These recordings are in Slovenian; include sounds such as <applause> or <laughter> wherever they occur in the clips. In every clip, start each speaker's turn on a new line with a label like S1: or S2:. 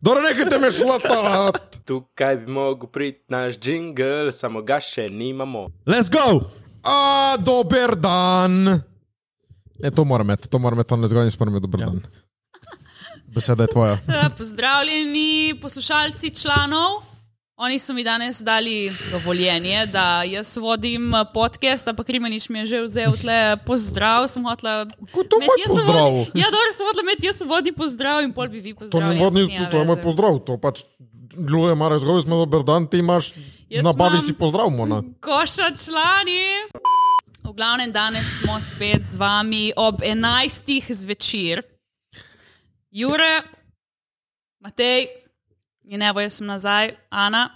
S1: Dobro, nekajte e me šlatat.
S2: Tukaj bi mogel priti naš jingle, samo ga še nimamo.
S1: <laughs> Let's go! A, dober dan. E, to moram imeti, to moram imeti, to ne zgodi, nisem imel dober ja. dan. Beseda je tvoja.
S3: Eh, Pozdravljeni poslušalci članov. Oni so mi danes dali dovoljenje, da jaz vodim eh, podcast, ampak Rimanič mi je že vzel tle pozdrav, sem hotla.
S1: Ko to
S3: met-
S1: moj
S3: jaz sem
S1: pozdrav?
S3: vodni- Ja, dobro, sem hotla imeti jaz vodni pozdrav in pol bi vi
S1: To
S3: pozdravili.
S1: ni vodni, to je moj pozdrav, to pač ljudje marajo zgodi, smo dober dan, ti imaš,
S3: Jaz
S1: nabavi
S3: imam-
S1: si pozdrav, mona.
S3: Koša člani. V glavnem danes smo spet z vami ob 11. zvečer. Jure, Matej, in evo jaz sem nazaj, Ana.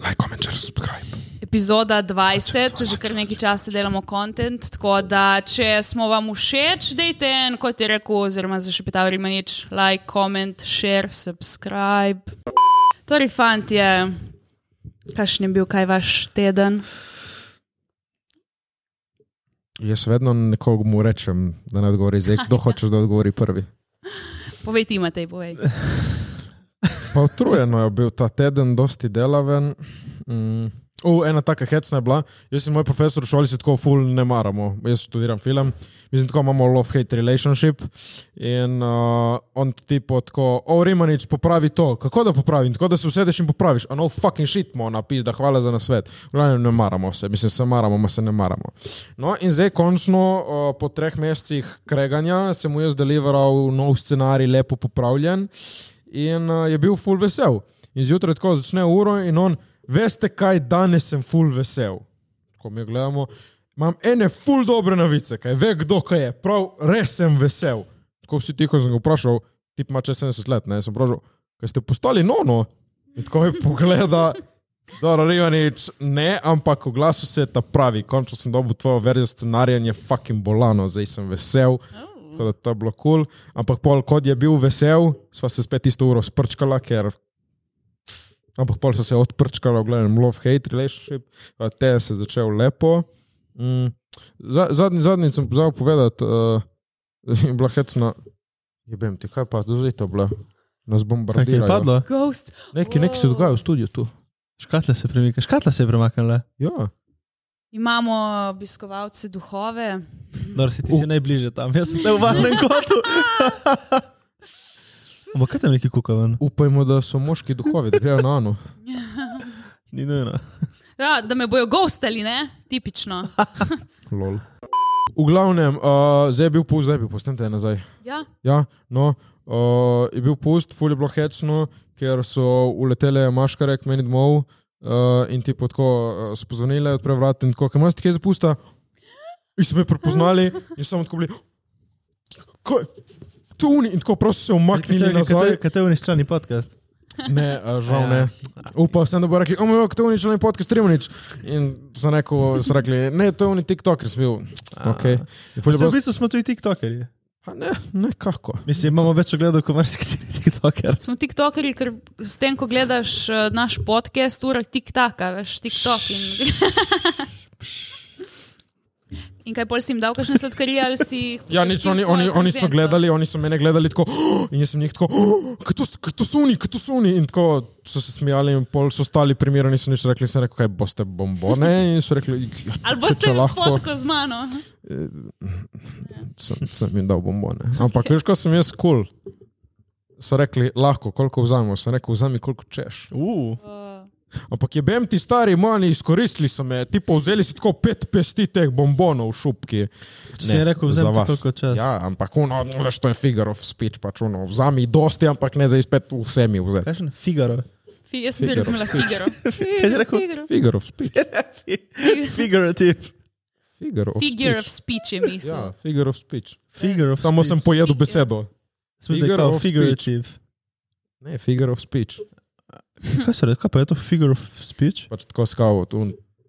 S1: Like, comment, share, subscribe.
S3: Epizoda 20, že kar nekaj časa delamo kontent, tako da če smo vam všeč, dejte en, kot je rekel, oziroma zašepital Rimanič, like, comment, share, subscribe. Torej, fantje, kakšen je bil kaj vaš teden?
S1: Jaz vedno nekomu rečem, da ne odgovori zdaj, kdo hočeš, da odgovori prvi.
S3: Povej ti, Matej, povej.
S1: Pa utrujeno je bil ta teden, dosti delaven. Mm. U, ena taka hecna je bila. Jaz in moj profesor v šoli se tako ful ne maramo. Jaz študiram film, mislim, tako imamo love-hate relationship. In uh, on tipo tako, o, Rimanič, popravi to. Kako da popravim? Tako da se usedeš in popraviš. A no, fucking shit, mo, napis, da hvala za nasvet. V glavnem ne maramo se, mislim, se maramo, ma se ne maramo. No, in zdaj končno, uh, po treh mesecih kreganja, sem mu jaz deliveral nov scenarij, lepo popravljen in uh, je bil full vesel. In zjutraj tako začne uro in on, veste kaj, danes sem full vesel. Ko mi gledamo, imam ene full dobre novice, kaj ve kdo kaj je, prav res sem vesel. Tako vsi tiho sem ga vprašal, tip ima čez 70 let, ne, sem vprašal, kaj ste postali nono? In tako mi pogleda. Dobro, Rivanič, ne, ampak v glasu se je ta pravi. Končno sem dobil tvojo verzijo scenarija in je fucking bolano, zdaj sem vesel. Tako da to je bilo kul, cool. ampak pol, kot je bil vesel, sva se spet isto uro sprčkala, ker. Ampak pol so se odprčkala, gledam, love-hate relationship, pa te se je začel lepo. Mm. za- Zadnji, zadnji sem pozabil povedati, uh, <laughs> je bila hecna. Jebem ti, kaj pa, zdaj to bila. Nas
S4: Kaj je
S1: bombardirajo.
S4: padlo?
S3: Ghost.
S1: Nekaj, nekaj se dogaja v studiu tu.
S4: Škatla se premika, škatla se je premaknila.
S1: Ja.
S3: Imamo obiskovalce duhove.
S4: Dobro, si ti si najbližje tam, jaz sem le v varnem
S1: <laughs>
S4: kotu. Ampak kaj tam neki kukavan?
S1: Upajmo, da so moški duhovi, da grejo na ano.
S4: Ni nujno.
S3: Ja, da me bojo ghostali, ne? Tipično.
S1: Lol. V glavnem, uh, zdaj je bil pust, zdaj bi postanite nazaj.
S3: Ja,
S1: Ja, no, uh, je bil pust, ful je bilo hecno, ker so uletele maškare k meni domov uh, in ti potko uh, spozvonile, odpre vrat in tako, kaj imaš ti kaj zapusta? In so me prepoznali in so samo tako bili, kaj, tu ni, in tako prosto se umaknili nazaj.
S4: Kaj te uniščani podcast?
S1: Ne, a, žal ne.
S3: Ja.
S1: Upal sem, da bo rekli, o moj bog, to ni član podcast, Rimanič. In sem rekel, so rekli, ne, to ni TikTok, ker sem bil. Okay. In ful je
S4: Mislim,
S1: bilo-
S4: v bistvu smo tu tiktokerji.
S1: Pa Ne, nekako.
S4: Mislim, imamo več ogledov kot marsikateri tiktoker.
S3: smo tiktokerji, ker s tem, ko gledaš eh, naš podcast, ura tiktaka, veš, tiktok in. In kaj pol si jim dal, kakšne sladkarije ali si. jih
S1: Ja, nič,
S3: pustil
S1: oni,
S3: svojo
S1: oni, oni so
S3: trpljenco?
S1: gledali, oni so mene gledali tako, "Oh!" in jaz sem jih tako, "Oh, kaj to s- kaj to so oni, kaj to so oni. In tako so se smijali, in pol so stali primerno, niso nič rekli, sem rekel, kaj boste bombone. In so rekli, "Ja, če-
S3: Ali
S1: če,
S3: boste
S1: če lahko,
S3: fotko z mano?
S1: sem, sem jim dal bombone. Ampak veš, ko sem jaz kul, cool. so rekli, lahko, koliko vzamemo, sem rekel, vzami, koliko češ.
S4: Uh,
S1: Ampak je bem ti stari mani, izkoristili so me, ti povzeli si tako pet pesti teh bombonov v šupki.
S4: Če si rekel, vzemi ti koliko čas.
S1: Ja, ampak ono, veš, to je Figarov speech, pač ono, vzami dosti, ampak ne za izpet vsemi vzeti.
S4: Kakšen
S1: <laughs>
S4: Figaro?
S3: Fi, jaz sem ti razumela figaro.
S4: Kaj si rekel?
S3: Figaro.
S1: Figarov speech.
S4: Figurative.
S1: Figarov
S3: Figure of
S1: speech.
S3: speech je mislil.
S1: Ja, Figarov speech.
S4: Figaro.
S1: Samo sem pojedel
S3: Figure.
S1: besedo. Figure
S4: Figaro.
S1: of speech.
S4: Figurative.
S1: Ne, Figarov speech.
S4: Kaj se reče, kaj pa je to figure of speech?
S1: Pač tako skav, to,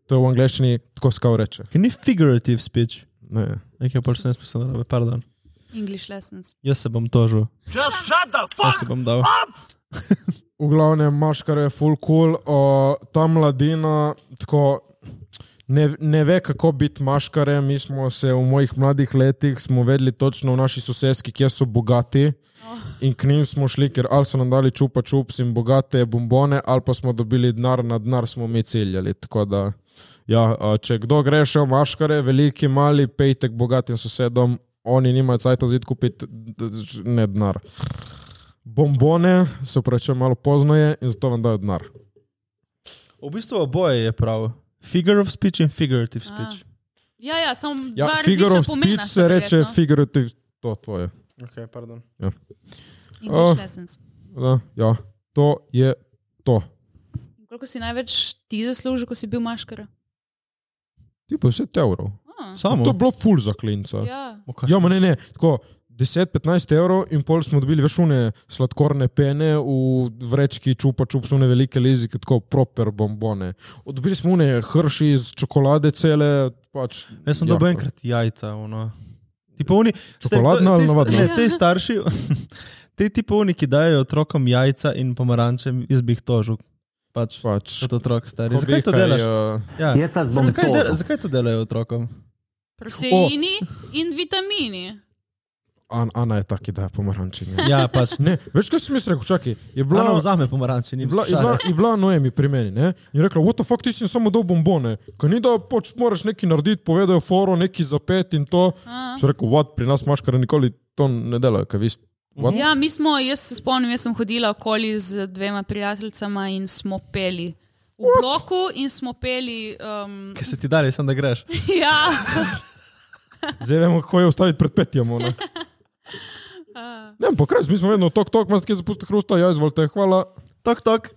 S1: to v angleščini tako skav reče.
S4: Kaj ni figurative speech? Adică,
S1: Ne.
S4: Nekaj pa sem jaz pisal narobe, pardon.
S3: English lessons.
S4: Jaz se bom tožil. Jaz se bom dal.
S1: V glavnem, maškar je full cool, uh, ta mladina, tako, ne, ne ve, kako biti maškare. Mi smo se v mojih mladih letih smo vedeli točno v naši soseski, kje so bogati. In k njim smo šli, ker ali so nam dali čupa čups in bogate bombone, ali pa smo dobili denar, na denar smo mi ciljali. Tako da, ja, a, če kdo gre še v maškare, veliki, mali, pejte k bogatim sosedom, oni nimajo cajta zid kupiti, d- d- ne denar. Bombone, se pravi, malo pozno je in zato vam dajo denar.
S4: V bistvu oboje je prav. Figure of speech in figurative speech.
S3: Ja, ja, samo
S1: Ja,
S3: dva
S1: figure
S3: različna
S1: of
S3: pomena.
S1: speech
S3: sta
S1: se reče
S3: verjetno.
S1: figurative, to tvoje.
S2: Ok, pardon.
S1: Oh.
S3: English lessons.
S1: Da, ja, to je to.
S3: Koliko si največ ti zaslužil, ko si bil maškara?
S1: Ti pa 10 evrov.
S3: Ah,
S4: Samo.
S1: To je bilo full za klinca.
S3: ja.
S4: O, kaj
S1: Ja,
S4: sem-
S1: ma ne, ne, tako 10-15 evrov in pol smo dobili več une sladkorne pene v vrečki čupa, čup so une velike lezike, tako proper bombone. Dobili smo une hrši iz čokolade cele, pač.
S4: Jaz sem
S1: ja,
S4: dobil enkrat jajca. ono. Ti pa oni,
S1: Čokoladna ali navadna?
S4: Ne, te starši, <laughs> te ti pa oni, ki dajo otrokom jajca in pomaranče, jaz bi jih tožil. Pač,
S1: Pač.
S4: kot otrok star.
S1: ko bi
S4: Zakaj Ja, to
S1: kaj,
S4: delaš?
S1: eh,
S4: Ja.
S5: Jaz vas bom
S4: Zakaj, dela,
S5: tožil.
S4: zakaj to delajo otrokom?
S3: Proteini oh. in vitamini.
S1: An- Ana je taki, da je pomarančenje.
S4: Ja, pač.
S1: Ne, veš kaj sem jaz rekel, čakaj, je bila...
S4: Blano vzame pomaranče, ni
S1: Je bila, je, bila, je bila Noemi pri meni ne? in je rekla: What the fuck, ti si jim samo dal bombone. Ko ni da pač moraš nekaj narediti, povedajo foro, neki zapet in to.
S3: Ah.
S1: Še rekel, what, pri nas maškara nikoli to ne delajo, kaj vi ste. what?"
S3: Ja, mi smo, jaz se spomnim, jaz sem hodila okoli z dvema prijateljicama in smo peli. V bloku in smo peli. Um, <laughs>
S4: Kaj se ti dali, sem da greš.
S3: ja,
S1: Zdaj vemo, kako je ustaviti pred petjem.
S3: <laughs>
S1: ono. Ne, vem, pokraj, mi smo vedno tok, tok, imaš kje zapusti hrusta, ja, izvolite, hvala.
S4: Tok, tok.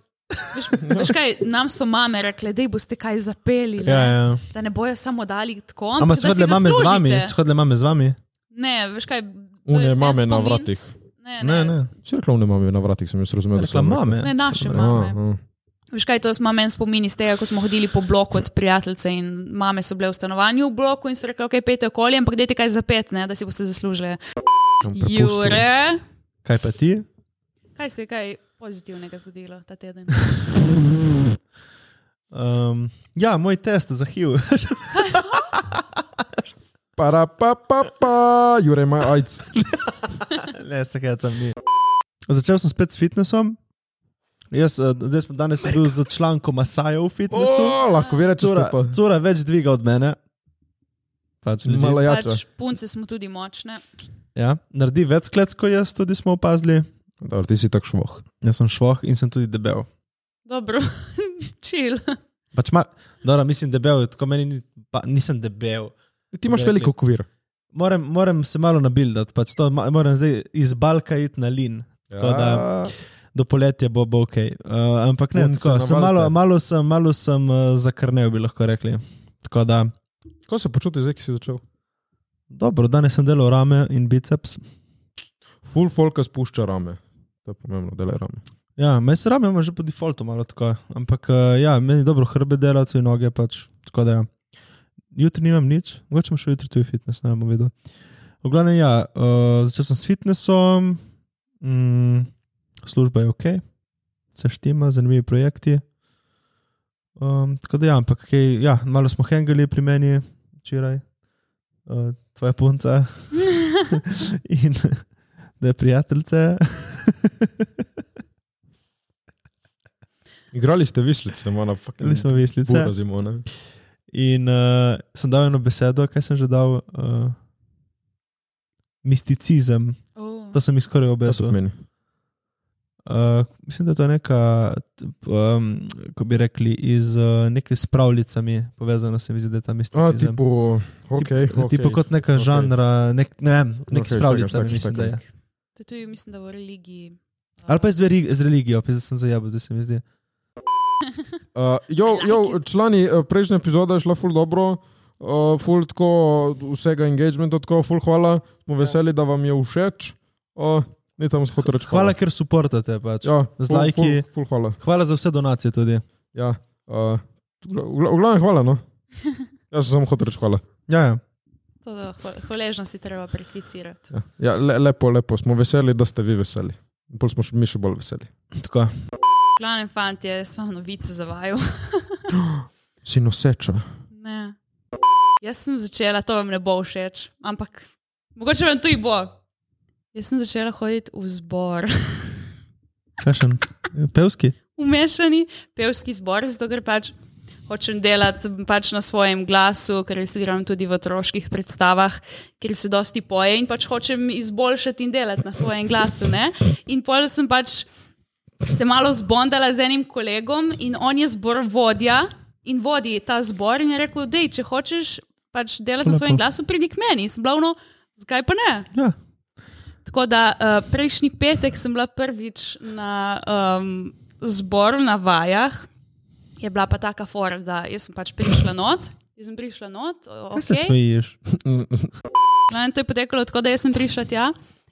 S3: veš, veš kaj, nam so mame rekle, da boste kaj zapeli. Ne?
S4: Ja, ja.
S3: Da ne bojo samo dali tako.
S4: Ampak
S3: da si
S4: shodile mame z vami,
S3: zaslužite.
S4: shodile mame z vami.
S3: Ne, veš kaj. to je
S1: Une
S3: en
S1: mame na
S3: spomin.
S1: vratih.
S3: Ne, ne,
S4: Ne, ne.
S1: Si rekla, une mame na vratih, sem jaz razumel, da
S4: Rekla
S1: sem
S4: mame.
S3: ne naše mame.
S1: Mame.
S3: Veš kaj, to ima meni spomin iz tega, ko smo hodili po bloku od prijateljice in mame so bile v stanovanju v bloku in so rekli, ok, pejte okoli, ampak dajte kaj za pet, ne, da si boste zaslužili. Jure,
S4: Kaj pa ti?
S3: kaj se je kaj pozitivnega zgodilo ta
S4: <laughs>
S3: teden?
S4: Um, ja, moj test za HIV. <laughs>
S1: Para, pa, pa, pa, Jure ima AIDS.
S4: ne, se hecam, ni. Začel sem spet s fitnessom. Jaz, eh, zdaj smo danes bil za članko Masaja v fitnessu.
S1: O, lahko vi rečete,
S4: Cura,
S1: pa.
S4: cura več dviga od mene. Pač, legit.
S1: Malo ja. jača.
S3: Pač punce smo tudi močne.
S4: ja, naredi več klec kot jaz, tudi smo opazili.
S1: Dobro, ti si tak švoh.
S4: Jaz sem švoh in sem tudi debel.
S3: Dobro, <laughs> čil.
S4: Pač mal, dobro, mislim debel, tako meni ni, pa, nisem debel.
S1: Ja, Ti imaš
S4: Rekli.
S1: velik okvir.
S4: Moram, moram se malo nabildati, pač to, ma- moram zdaj iz Balka iti na Lin. Tako da
S1: Ja.
S4: do poletja bo, bo ok. Uh, ampak ne,
S1: Punce
S4: tako, sem
S1: navalite.
S4: malo, malo sem, malo sem uh, zakrnel, bi lahko rekli. Tako da,
S1: Kako se počutiš zdaj, ki si začel?
S4: dobro, danes sem delal rame in biceps.
S1: Full folka spušča rame. To je pomembno, delaj rame.
S4: Ja, meni se rame ima že po defaultu malo tako, ampak uh, ja, meni dobro hrbe delati in noge pač. Tako da, ja. jutri nimam nič, mogoče bom še jutri tudi fitness, ne bom vedel. V glavnem, ja, uh, začel sem s fitnessom, mm, služba je ok, se štima, zanimivi projekti. Um, tako da, ja, ampak kaj, ja, malo smo hengali pri meni včeraj, uh, tvoja punca <laughs> in da je prijateljice.
S1: Igrali ste vislice, malo
S4: Bili smo
S1: fucking.
S4: veslice.
S1: Pura zimo, ne?
S4: In uh, sem dal eno besedo, kaj sem že dal. Uh, misticizem,
S3: Oh.
S4: to sem jih
S1: Kaj
S4: skoraj
S1: to
S4: obesil.
S1: pomeni?
S4: Uh, mislim, da je to neka, t- um, ko bi rekli, iz uh, neke s pravljicami povezano, se mi zdi, da je ta
S1: A,
S4: misticizem.
S1: tipo,
S4: okay,
S1: ok, ok.
S4: tipo kot neka
S1: okej.
S4: okay. žanra, nek, ne vem, nek
S1: Okej,
S4: okay, s pravljicami,
S1: čakaj,
S4: mislim, da
S1: čakaj,
S4: je.
S3: To je tudi, mislim, da v religiji.
S4: Ali pa je z, veri, z religijo, pa zdaj sem zajabil, zdaj se mi zdi.
S1: Uh, jo,
S3: I
S4: Ja,
S3: like
S1: jo, člani, eh, prejšnja epizoda je šla full dobro, uh, full tako vsega engagementa, tako full hvala,
S4: Ja.
S1: smo veseli, da vam je všeč. Uh, ni tam skotor reči.
S4: Hvala, ker suportate. Pač.
S1: Ja,
S4: z
S1: full-
S4: lajki.
S1: full- Full hvala.
S4: Hvala za vse donacije tudi.
S1: Ja, uh, v gla- v glavnem hvala,
S3: <laughs>
S1: no. Jaz sem samo hotel reči hvala.
S4: Ja, ja.
S3: To, da, hvale- hvaležnost je treba prakticirati.
S1: Ja, ja le, lepo, lepo, smo veseli, da ste vi veseli. In Pol smo še, mi še bolj veseli.
S4: Tako.
S3: Glavnem, fantje, jaz imam novice za vaju.
S1: Si noseča.
S3: Ne. Ne. Jaz sem začela, to vam ne bo všeč, ampak mogoče vam tudi bo. Jaz sem začela hoditi v zbor,
S4: Kakšen? Pevski?
S3: v mešani pevski zbor, zato ker pač hočem delati pač na svojem glasu, ker studiram tudi v otroških predstavah, ker se dosti poje in pač hočem izboljšati in delati na svojem glasu. Ne? In pol sem pač se malo zbondala z enim kolegom in on je zbor vodja in vodi ta zbor in je rekel, da če hočeš pač delati na
S4: Lepo.
S3: svojem glasu, pridi k meni. In Sem bila vno, zakaj pa ne?
S4: Ja.
S3: Tako da uh, prejšnji petek sem bila prvič na um, zboru na vajah, je bila pa taka forma, da jaz sem pač prišla not. Jaz sem prišla not, o-
S4: Kaj se
S3: okay.
S4: smejiš?
S3: Glavnem, to je potekalo tako, da jaz sem prišla tja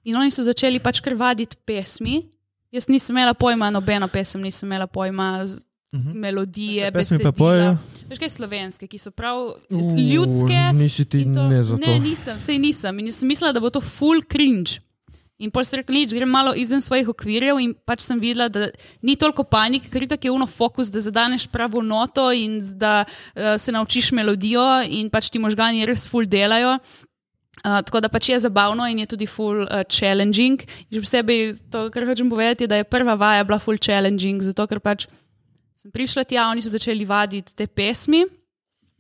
S3: in oni so začeli pač krvaditi pesmi. Jaz nisem imela pojma, nobeno pesem nisem imela pojma, z, uh -huh. melodije,
S4: Mhm. Pesmi
S3: besedila.
S4: pa pojejo?
S3: Veš kaj slovenske, ki so prav s- ljudske.
S1: U, Nisi ti
S3: in to-
S1: ne za to.
S3: Ne, nisem, sej nisem. In sem mislila, da bo to full cringe. In pol sem rekla, nič, grem malo izven svojih okvirjev in pač sem videla, da ni toliko panik, ker je tako uno fokus, da zadaneš pravo noto in z- da uh, se naučiš melodijo in pač ti možgani res full delajo. Uh, tako da pač je zabavno in je tudi full uh, challenging. In Že posebej to, kar hočem povedati, je, da je prva vaja bila full challenging, zato ker pač sem prišla tja, oni so začeli vaditi te pesmi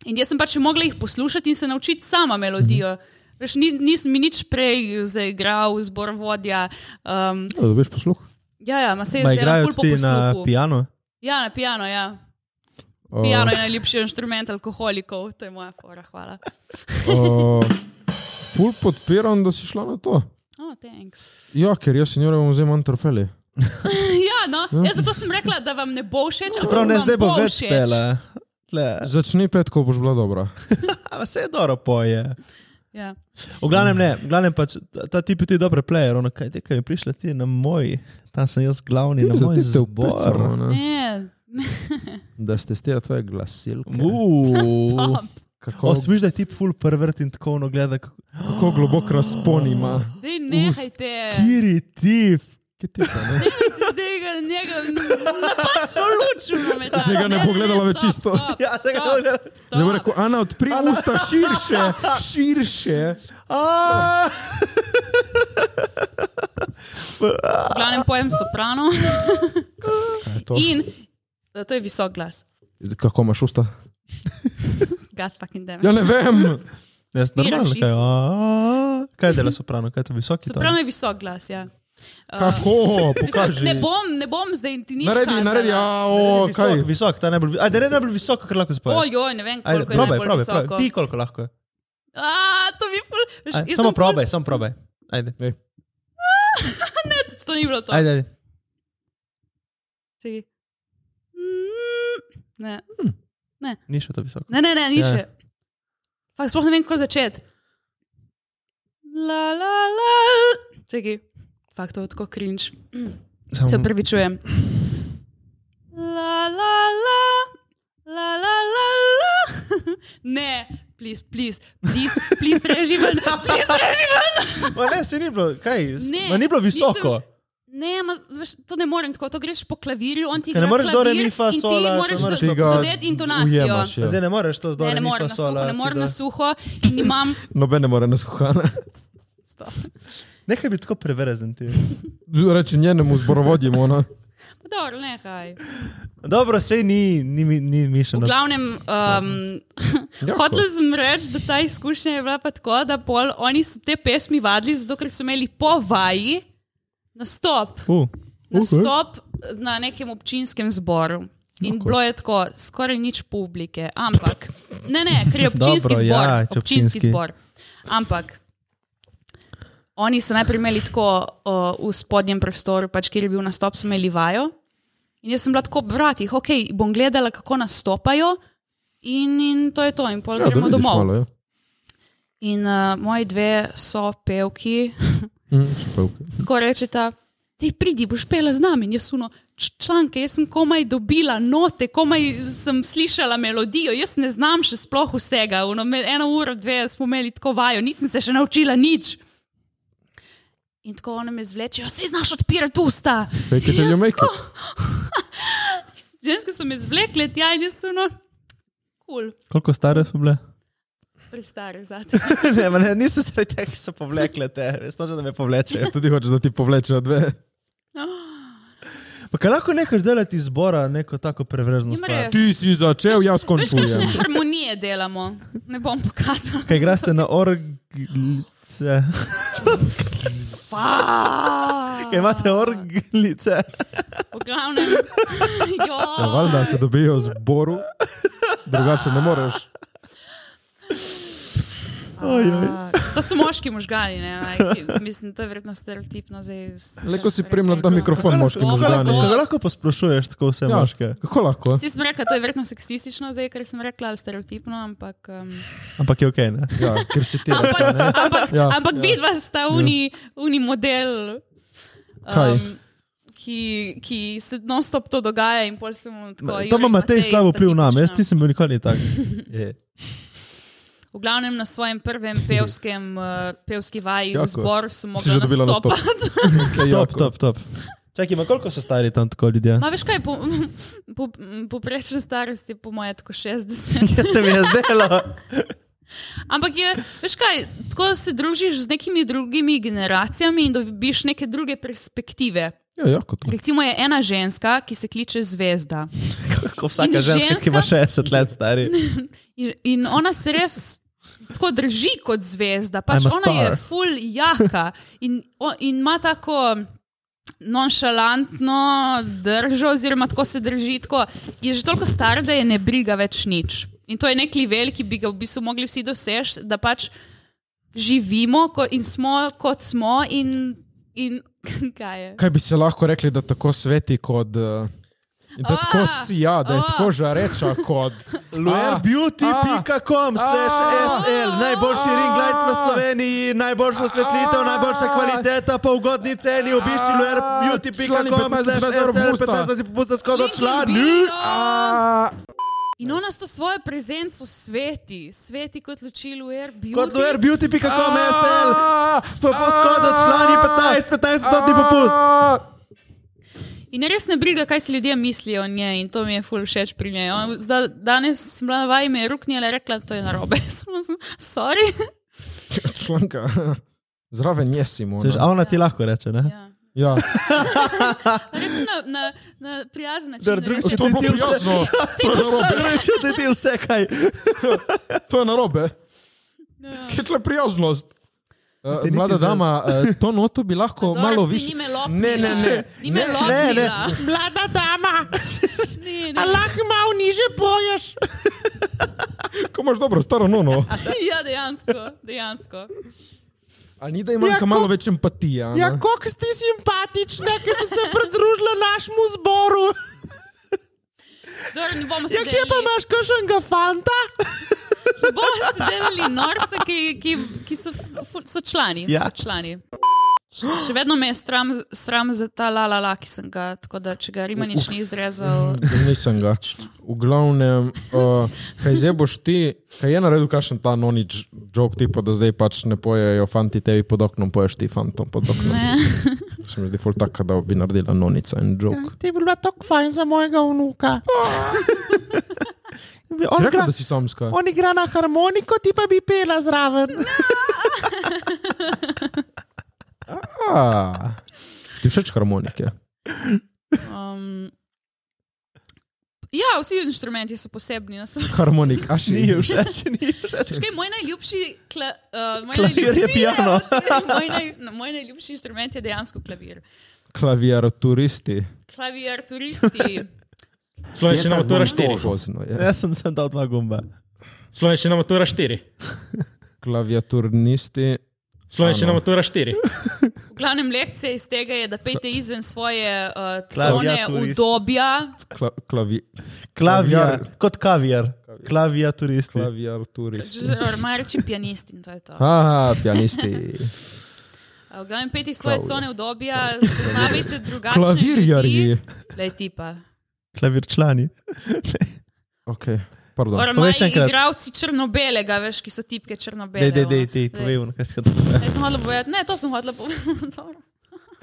S3: in jaz sem pač mogla jih poslušati in se naučiti sama melodijo.
S4: Mhm.
S3: Veš, ni, nisem mi nič prej zaigral, zbor vodja. Um,
S1: Ja, Dobiš posluh?
S3: ja, ja, ma se je
S4: Ma
S3: zdaj
S4: igrajo
S3: ful po
S4: ti na
S3: posluhu.
S4: piano?
S3: Ja, na piano, ja.
S1: O,
S3: Piano je
S4: Oh.
S3: najljubši inštrument alkoholikov, to je moja fora, hvala.
S1: o, Ful podpiram, da si šla na to.
S3: Oh,
S4: <laughs>
S3: thanks.
S1: Ja, ker jaz senjore bom zdaj manj trpeli.
S3: ja, no, jaz zato sem rekla, da vam ne bo všeč, ampak
S4: Čeprav ne
S3: vam
S4: zdaj bo več
S3: všeč.
S4: pela. Tle,
S1: Začni pet, ko boš bila dobra.
S4: a vse je dobro poje.
S3: Ja.
S4: V glavnem ne, v glavnem pač ta- ta tip je tudi dober player, ono kaj te, kaj je prišla ti na moj, tam sem jaz glavni, na moj zbor.
S3: Ne,
S1: Da ste stila tvoje glasilke.
S4: Uuu.
S3: stop.
S1: Kako,
S4: O, smiš, da je tip full pervert in tako ono gleda, kako
S1: kako globok razpon ima.
S3: Dej, nehajte.
S4: kiri tip. Kaj ti pa ne?
S3: Zdaj ga njega napačno lučimo.
S1: Zdaj ga ne bo gledala več isto.
S4: Ja, se ga ne gleda.
S1: Zdaj bo rekel, Ana, odpri usta širše, širše.
S4: Aaaa!
S3: V glavnem pojem soprano
S1: to?
S3: in da to je visok glas.
S1: Kako imaš usta?
S3: God fucking damn.
S1: Ja
S3: it.
S1: ne
S3: <laughs>
S1: vem.
S4: Ne, jaz normalno,
S3: Diraš
S4: kaj, aaaa. kaj dela soprano, kaj je to visoki
S3: Soprano
S4: ton?
S3: je visok glas, ja.
S1: Kako? Pokaži.
S3: Ne bom, ne bom zdaj ti nič.
S1: Naredi,
S3: kazala.
S1: naredi,
S4: ja,
S1: a o, kaj?
S4: Visok, visok, ta najbolj, vi- ajde, ne najbolj visoko, kar lahko spoje.
S3: Ojoj, ne vem, koliko
S4: Ajde,
S3: je
S4: probaj,
S3: najbolj
S4: probaj,
S3: visoko.
S4: probaj. Ti koliko lahko je?
S3: A, to mi ful... veš,
S4: Aj,
S3: jaz sem
S4: Samo
S3: ful-
S4: probaj, samo probaj. Ajde,
S3: To ni bilo to.
S4: ajde. ajde.
S3: Čakaj. Mm, Ne,
S4: Ni še to visoko.
S3: ne, ne, ne ni
S4: Ja.
S3: še. Fak, sploh ne vem, kako začeti. La, la, la. Čakaj. Fak, to je tako cringe. Se
S4: Samo-
S3: upravičujem. La, la, la, la, la, la, la. Ne, please, please, please, please, reži
S4: <laughs>
S3: ven, please, reži ven.
S4: Ma ne, se ni bilo, kaj, s-
S3: Ne,
S4: ma ni bilo
S3: nisem-
S4: visoko.
S3: Ne, ma, veš, to ne morem tako, to greš po klavirju, on ti
S4: Ker Ja, ne
S3: igra
S4: moreš do re,
S3: klavir
S4: mi, fa,
S3: in ti
S4: sola, to ne
S3: moraš
S4: moreš
S3: za-
S1: Ti ga
S3: zadeti intonacijo.
S1: ujemaš, ja.
S4: Zdaj ne moreš to
S3: Ne,
S4: zdaj.
S3: ne morem na suho, ne morem na suho in
S4: <laughs>
S3: imam...
S1: Noben ne more nas kuhana.
S3: Stop.
S4: Nekaj bi tako preverezen ti.
S1: Reči njenemu zborovodjem, ona.
S3: Torej, Pa Dobro, nehaj.
S4: Dobro, sej ni, ni, mi- ni
S3: V
S4: mišljeno.
S3: glavnem, um,
S1: Jako.
S3: <laughs> hotela sem reči, da ta izkušnja je bila pa tako, da pol oni so te pesmi vadili, zato ker so imeli po vaji nastop,
S4: Uh,
S3: nastop na nekem občinskem zboru. In okay. bilo je tako, skoraj nič publike, ampak ne, ne, ker
S1: <laughs>
S3: je občinski
S4: Dobro,
S3: zbor.
S4: ja,
S3: občinski.
S4: če
S3: občinski
S4: občinski.
S3: zbor. Ampak oni so najprej imeli tako o, v spodnjem prostoru, pač kjer je bil nastop, so imeli vajo. In jaz sem bila tako ob vratih, ok, bom gledala, kako nastopajo, in, in to je to, in pol
S1: Ja,
S3: ja,
S1: da
S3: gremo
S1: vidiš
S3: domov.
S1: malo, ja.
S3: In uh, moji dve so pevki,
S1: Mm, še pevke.
S3: tako rečeta, ti pridi, boš pela z nami. In jaz suno članke, jaz sem komaj dobila note, komaj sem slišala melodijo, jaz ne znam še sploh vsega. Uno, me- eno uro, dve smo imeli tako vajo, nisem se še naučila nič. In tako one me zvlečejo, se znaš odpirati usta.
S1: Fake it till you
S3: Jaz "Oh." <laughs>
S1: make
S3: tako-
S1: it.
S3: Ženske so me zvlekle tja in jaz suno. Kul, cool.
S4: Koliko stare so bile?
S3: pristari zate.
S4: <laughs> ne, ma ne, nisem sredi tega, ki so povlekle te, veš, to že da me
S3: <laughs>
S4: povlečejo.
S1: Ja, Tudi hočeš, da ti povlečejo dve.
S4: Pa kaj lahko nekaš delati izbora, neko tako prevrezno
S3: Jim
S4: stvar?
S3: res.
S1: Ti si začel, jaz
S3: Veš, kakšne
S1: končujem.
S3: harmonije delamo? Ne bom pokazal.
S4: Kaj graste na
S3: <laughs>
S4: orglice? Kaj imate orglice?
S3: V glavnem, <laughs> jo.
S1: Ja, valjda se dobijo v zboru, drugače ne moreš.
S3: A, Ah, To so moški možgani, ne? like, mislim, to je verjetno stereotipno. zdaj s-
S1: Leko si primljal ta mikrofon, moški
S3: Kako lahko-
S1: možgani.
S4: Kaj lahko posplošuješ tako vse
S1: Ja,
S4: moške?
S1: Kako lahko?
S3: Vsi smo rekli, to je verjetno seksistično, zdaj, ker sem rekla, ali stereotipno, ampak. Um,
S4: Ampak je ok, ne?
S1: Ja, ker si ti.
S3: ampak ampak,
S1: Ja.
S3: ja, ampak ja. vidva sta uni, uni model, um,
S1: Kaj?
S3: ki, ki se non-stop to dogaja in pol se mu tako.
S4: To
S3: Jure
S4: ima
S3: in
S4: Matej slab
S3: sta
S4: vpliv na me, jaz
S3: tipična.
S4: nisem bil nikoli
S3: <laughs>
S4: tak.
S3: V glavnem na svojem prvem pevskem, uh, pevski vaji
S1: Jako.
S3: v zboru sem
S1: Si že
S3: mogla
S1: dobila nastop.
S3: nastopati.
S1: Okej,
S4: Top,
S1: Jako.
S4: top, top. Čakaj, ma koliko so stari tam tako ljudje?
S3: Ma No, veš kaj, po, <laughs> po, poprečna starost je po moje tako
S4: <laughs>
S3: 60.
S4: <laughs> Ja se mi je zdelo.
S3: Ampak je, veš kaj, tako se družiš z nekimi drugimi generacijami in dobiš neke druge perspektive.
S1: Ja, jako to.
S3: Recimo je ena ženska, ki se kliče Zvezda.
S4: Ko vsaka
S3: In
S4: ženska, ki ima
S3: ženska?
S4: 60 let stari.
S3: In, in ona se res tako drži kot zvezda. Pač
S4: I'm a
S3: ona je
S4: star.
S3: full jaka in, o, in ima tako nonšalantno držo, oziroma tako se drži. Tako, je že toliko star, da je ne briga več nič. In to je nek nivel, ki bi ga v bistvu mogli vsi doseči, da pač živimo ko, in smo kot smo. In, in, <laughs> kaj je?
S1: Kaj bi se lahko rekli, da tako sveti kot... eh, in Da
S3: A,
S1: tako sija, da je
S3: a.
S1: tako žareča <laughs> kot... A,
S4: Luerbeauty.com slash SL, najboljši
S1: A.
S4: ring light v Sloveniji, najboljša osvetlitev, najboljša kvaliteta po ugodni ceni. Obišči
S1: Člani
S4: luerbeauty.com
S1: 15
S4: slash
S1: brez
S4: SL,
S1: avgusta.
S4: 15 popusta skoda
S3: Link in
S4: člani.
S3: bio.
S1: a,
S3: In ona s to svojo prezenco sveti, sveti kot luči Luer Beauty.
S4: Kot luerbeauty.com
S1: a,
S4: SL,
S1: a,
S4: skoda člani 15, 15 odstotni popust.
S1: a.
S3: In res ne briga, kaj si ljudje mislijo o njej in to mi je ful všeč pri njej. Ona- Zda, danes sem bila na vaji, me je ruknila, rekla, to je narobe. <laughs> Sem bila samo, Sorry.
S1: Članka. <laughs> Zraven je Simon.
S4: A ona ti lahko reče, ne?
S3: Ja.
S1: Ja.
S3: Reči na, na, na prijazen način.
S4: Dar
S3: ne
S4: drugi-
S3: reče,
S4: To bo
S3: "Saj, <laughs>
S1: prijazno.
S3: saj, to je
S4: Reče ti vse kaj.
S1: <laughs> To je narobe.
S3: Ja.
S1: Kje je tule prijaznost? Eh,
S4: Ti nisi
S1: Mlada
S4: zdel.
S1: dama, eh, to noto bi lahko
S3: Dobro,
S1: malo
S3: si
S1: više.
S3: ni me lopnila.
S1: Ne, ne, ne.
S3: Ni me
S1: Ne,
S4: ne, ne.
S3: lopnila.
S5: Mlada dama,
S3: Ne, ne.
S5: a lahko malo niže poješ?
S1: Ko imaš dobro, staro nono.
S3: <laughs> Ja, dejansko, dejansko.
S1: A ni da imam
S5: Ja,
S1: ka
S5: ko-
S1: malo več empatije. a ne?
S5: Ja, koliko si ti simpatična, ker si se pridružila našemu zboru.
S3: Dobro, ne bomo se
S5: Ja, kje pa
S3: delali,
S5: imaš kakšnega fanta?
S3: ne bomo se delali norce, ki, ki, ki so, ful- so člani.
S4: Ja.
S3: So člani. Še vedno me je sram, sram za ta la la la, ki sem ga, tako da če ga Rimanič ni izrezal,
S1: Ja Nisem ga. V glavnem, uh, kaj zdaj boš ti, kaj je naredil, kakšen ta nonič jok tipo, da zdaj pač ne pojejo fanti tebi pod oknom, poješ ti fantom pod oknom.
S3: Ne.
S1: Se mi zdi ful taka, da bi naredila nonica en jok.
S5: Ti bi bila tako fajn za mojega <laughs> vnuka.
S1: Si
S5: On
S1: rekla,
S5: igra,
S1: da si samska?
S5: on igra na harmoniko, ti pa bi pela zraven.
S1: A. Ti všeč harmonike?
S3: Um, ja, vsi inštrumenti so posebni na svojem.
S1: Harmonik, a še
S4: Ni všeč, ni všeč.
S3: Škaj, moj najljubši, kla, uh, moj
S4: Klavir je
S3: najljubši
S4: piano.
S3: <laughs> moj, naj, no, moj najljubši inštrument je dejansko klavir.
S1: Klaviaturisti.
S3: Klavir, turisti.
S6: Slovenščina matura 4.
S1: Pozno je.
S4: Jaz sem sem dal dva gumba.
S6: Slovenščina matura 4.
S1: Klaviaturnisti.
S6: Slovenščina matura 4.
S3: V glavnem lekcija iz tega je, da pejte izven svoje uh, cone
S4: Klaviaturist.
S3: udobja.
S1: Kla, klavi,
S4: Klavijar,
S1: Klavijar.
S4: kot kavijar. Klaviaturisti.
S1: klaviaturisti.
S3: Oziroma, reči pianist in to je to.
S1: Ah, pianisti.
S3: Uh, V glavnem pejte iz svoje
S1: Klavir.
S3: cone udobja, spoznavajte drugačne
S1: Klavirjarji.
S3: ljudi. Lej tipa.
S4: Klavirčlani.
S1: Ok, pardon.
S3: Moram
S4: Povej še
S3: imeti
S4: enkrat.
S3: igravci črno-belega, veš, ki so tipke črno-bele.
S4: Dej, dej, dej,
S3: ono.
S4: ti,
S3: Daj.
S4: povej, ono, kaj si hotel povedati.
S3: Jaz sem hodila povedati, ne, to sem hodila povedati. <laughs> Dobro.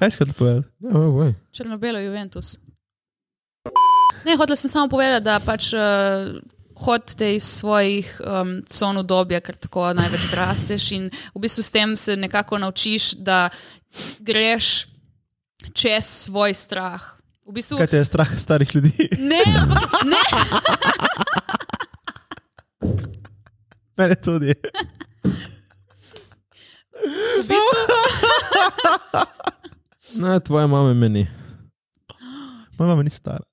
S4: Kaj si hotel povedati?
S1: Ja, oj, oj.
S3: Črno-belo Juventus. Ne, hodila sem samo povedati, da pač uh, hodite iz svojih um, con obdobja, ker tako največ zrasteš in v bistvu s tem se nekako naučiš, da greš čez svoj strah. V bistvu,
S4: Kaj te je strah starih ljudi? <laughs>
S3: ne, ampak ne,
S4: Mene tudi.
S3: v bistvu,
S1: Ne, tvoje mame meni.
S4: Moja mama ni stara.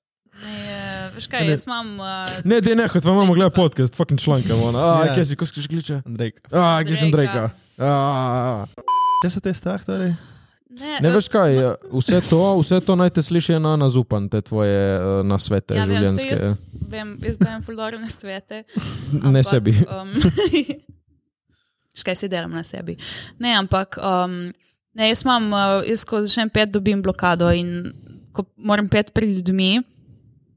S3: ne, eh, veš kaj, jaz imam uh,
S1: Ne, de, ne, kot tvoja mama gleda podcast, fucking članka, ona. A,
S4: Ja.
S1: kje si, ko skriš kliče?
S4: Andrej.
S1: A, kje sem
S3: Drejka.
S1: Drejka? A,
S4: Če se te je strah, torej?
S3: ne,
S1: Ne
S3: eh,
S1: veš kaj, vse to, vse to naj te sliši ena na zupan, te tvoje eh, nasvete
S3: Ja, vem, se
S1: življenjske.
S3: jaz, vem, jaz dajem fuldore na svete.
S1: <laughs> ne sebi.
S3: Um, <laughs> škaj si delam na sebi. Ne, ampak um, ne, jaz imam, uh, jaz ko začnem pet, dobim blokado in ko moram pet pred ljudmi,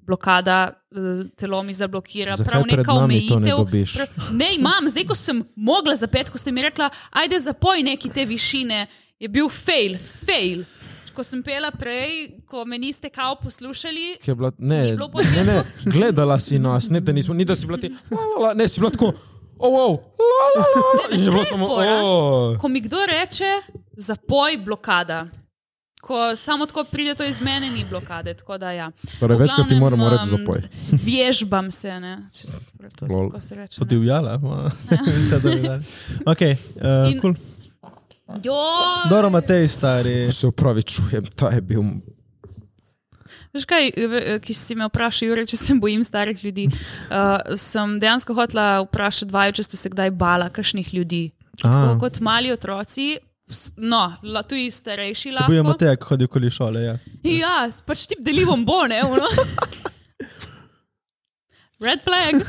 S3: blokada, eh, telo mi zablokira,
S1: Zakaj
S3: prav
S1: pred
S3: neka
S1: nami to ne
S3: omejitev.
S1: dobiš?
S3: Prav- ne, imam, zdaj ko sem mogla za pet, ko ste mi rekla, ajde zapoj neki te višine, je bil fail, fail. Ko sem pela prej, ko me niste kao poslušali,
S1: Ki je bila, ne,
S3: bilo
S1: ne, ne, gledala si nas, ne, da nismo, ni da si bila ti, la, la, la, ne, si bila tako, oh, oh, la, la, la, la. In je bilo samo,
S3: fora?
S1: oh.
S3: ko mi kdo reče, zapoj blokada. Ko samo tako pride to iz mene, ni blokade. tako da Ja.
S1: Torej,
S3: V
S1: večkrat ti
S3: glavnem,
S1: moramo reči
S3: em,
S1: zapoj.
S3: Vježbam se, ne. Če, to,
S1: Lol.
S3: tako se reče. ne.
S4: Podivjala. <laughs> Vse dobro. Ok, uh,
S3: Ah. In-
S4: cool.
S3: Joj!
S4: Dobro, Matej,
S3: <laughs>
S4: stari.
S1: Se upravičujem, ta je bil
S3: Veš kaj, eh, v- ki si me vprašal, Jure, če se bojim starih
S1: <laughs>
S3: ljudi. Uh, sem dejansko hotela vprašati vaju, če ste se kdaj bala kakšnih ljudi.
S4: Ah,
S3: Tako kot mali otroci, s- no, la, tudi starejši
S4: Se
S3: lahko.
S4: bojim Mateja, ko hodi okoli šole. Ja.
S3: Ja, pač ti deli bombone. ono. Red flag.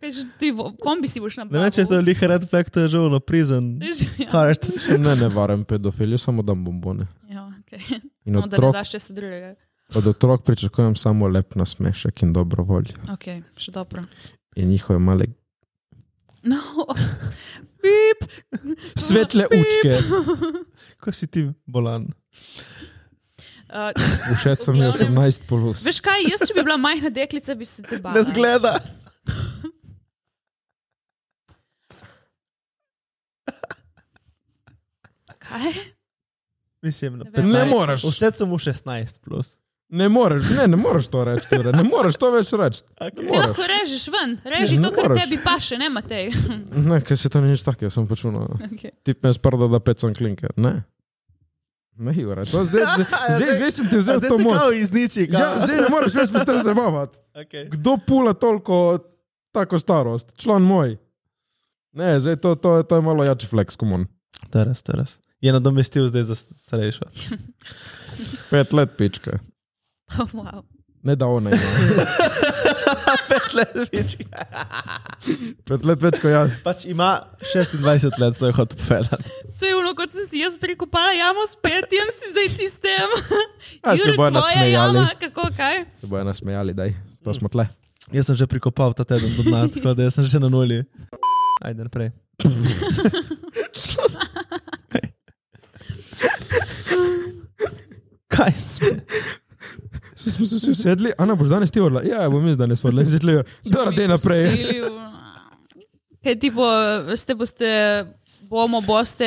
S3: Veš, ti v kombi si boš
S4: Ne
S3: napadel.
S4: vem, če je to lih red flag, to je že ono prison.
S3: Ja.
S4: Hard.
S1: Ne, ne varen pedofil, jaz samo dam bombone.
S3: Ja, okay.
S1: In
S3: Samo
S4: No,
S3: da ne
S1: otrok,
S3: daš česa drugega.
S1: od otrok pričakujem samo lep nasmešek in dobro voljo.
S3: Ok, še dobro.
S1: In njihove male
S3: No, pip.
S1: svetle učke.
S4: Ko si ti bolan?
S3: Uh,
S1: Všeč sem jih
S3: V glavnem-
S1: 18 plus.
S3: veš kaj, jaz če bi bila majhna deklica, bi se te bala.
S4: Ne zgleda.
S3: Kaj?
S4: Mislim,
S3: Ne
S4: na
S3: vem.
S4: 15.
S1: Ne moreš.
S4: Vse sem v 16. Plus.
S1: Ne moreš, ne, ne moreš to reči, Ture, ne moreš to več reči. Ne
S3: Se
S1: moreš.
S3: lahko režeš ven, reži
S1: Ne
S3: to, kar
S1: moreš.
S3: tebi paše, ne Matej. <laughs>
S1: Ne, ker se to ni nič takega, sem počutil.
S3: Okay.
S1: Tip me sprda, da pecam klinke. Ne. Ne, Jure, to zdaj, zdaj, zdaj, zdaj sem ti
S4: Zdaj
S1: vzel
S4: se
S1: to
S4: kao
S1: moč.
S4: izniči. kao.
S1: Ja, zdaj ne moreš več s tem zabavati.
S4: Okay.
S1: Kdo pula toliko tako starost? Član moj. Ne, zdaj to, to, to je malo jači flex, komon.
S4: Teraz, teraz. Je nadomestil zdaj za starejšo.
S1: Pet let pička.
S3: Oh, wow.
S1: Ne da ona ima.
S4: Pet let več.
S1: Pet let več kot jaz.
S4: Pač ima 26 let, to je hotel povedati.
S3: To je ono, kot sem si jaz prikopala jamo s petjem, si zdaj ti s tem.
S1: A se
S3: Jure,
S1: bojo
S3: tvoja
S1: nasmejali.
S3: jama, kako kaj?
S1: Se bojo nasmejali, daj. To smo tle.
S4: Jaz sem že prikopal ta teden do dna, tako da jaz sem že na nuli. Ajde, naprej. Kaj smo?
S1: Svi smo se vsi usedli, Ana boš danes ti orla. Ja, bom jaz danes orla. Zdaj tle. Dobro, dej naprej.
S3: Pustili v- Kaj tipo, ste boste, bomo, boste,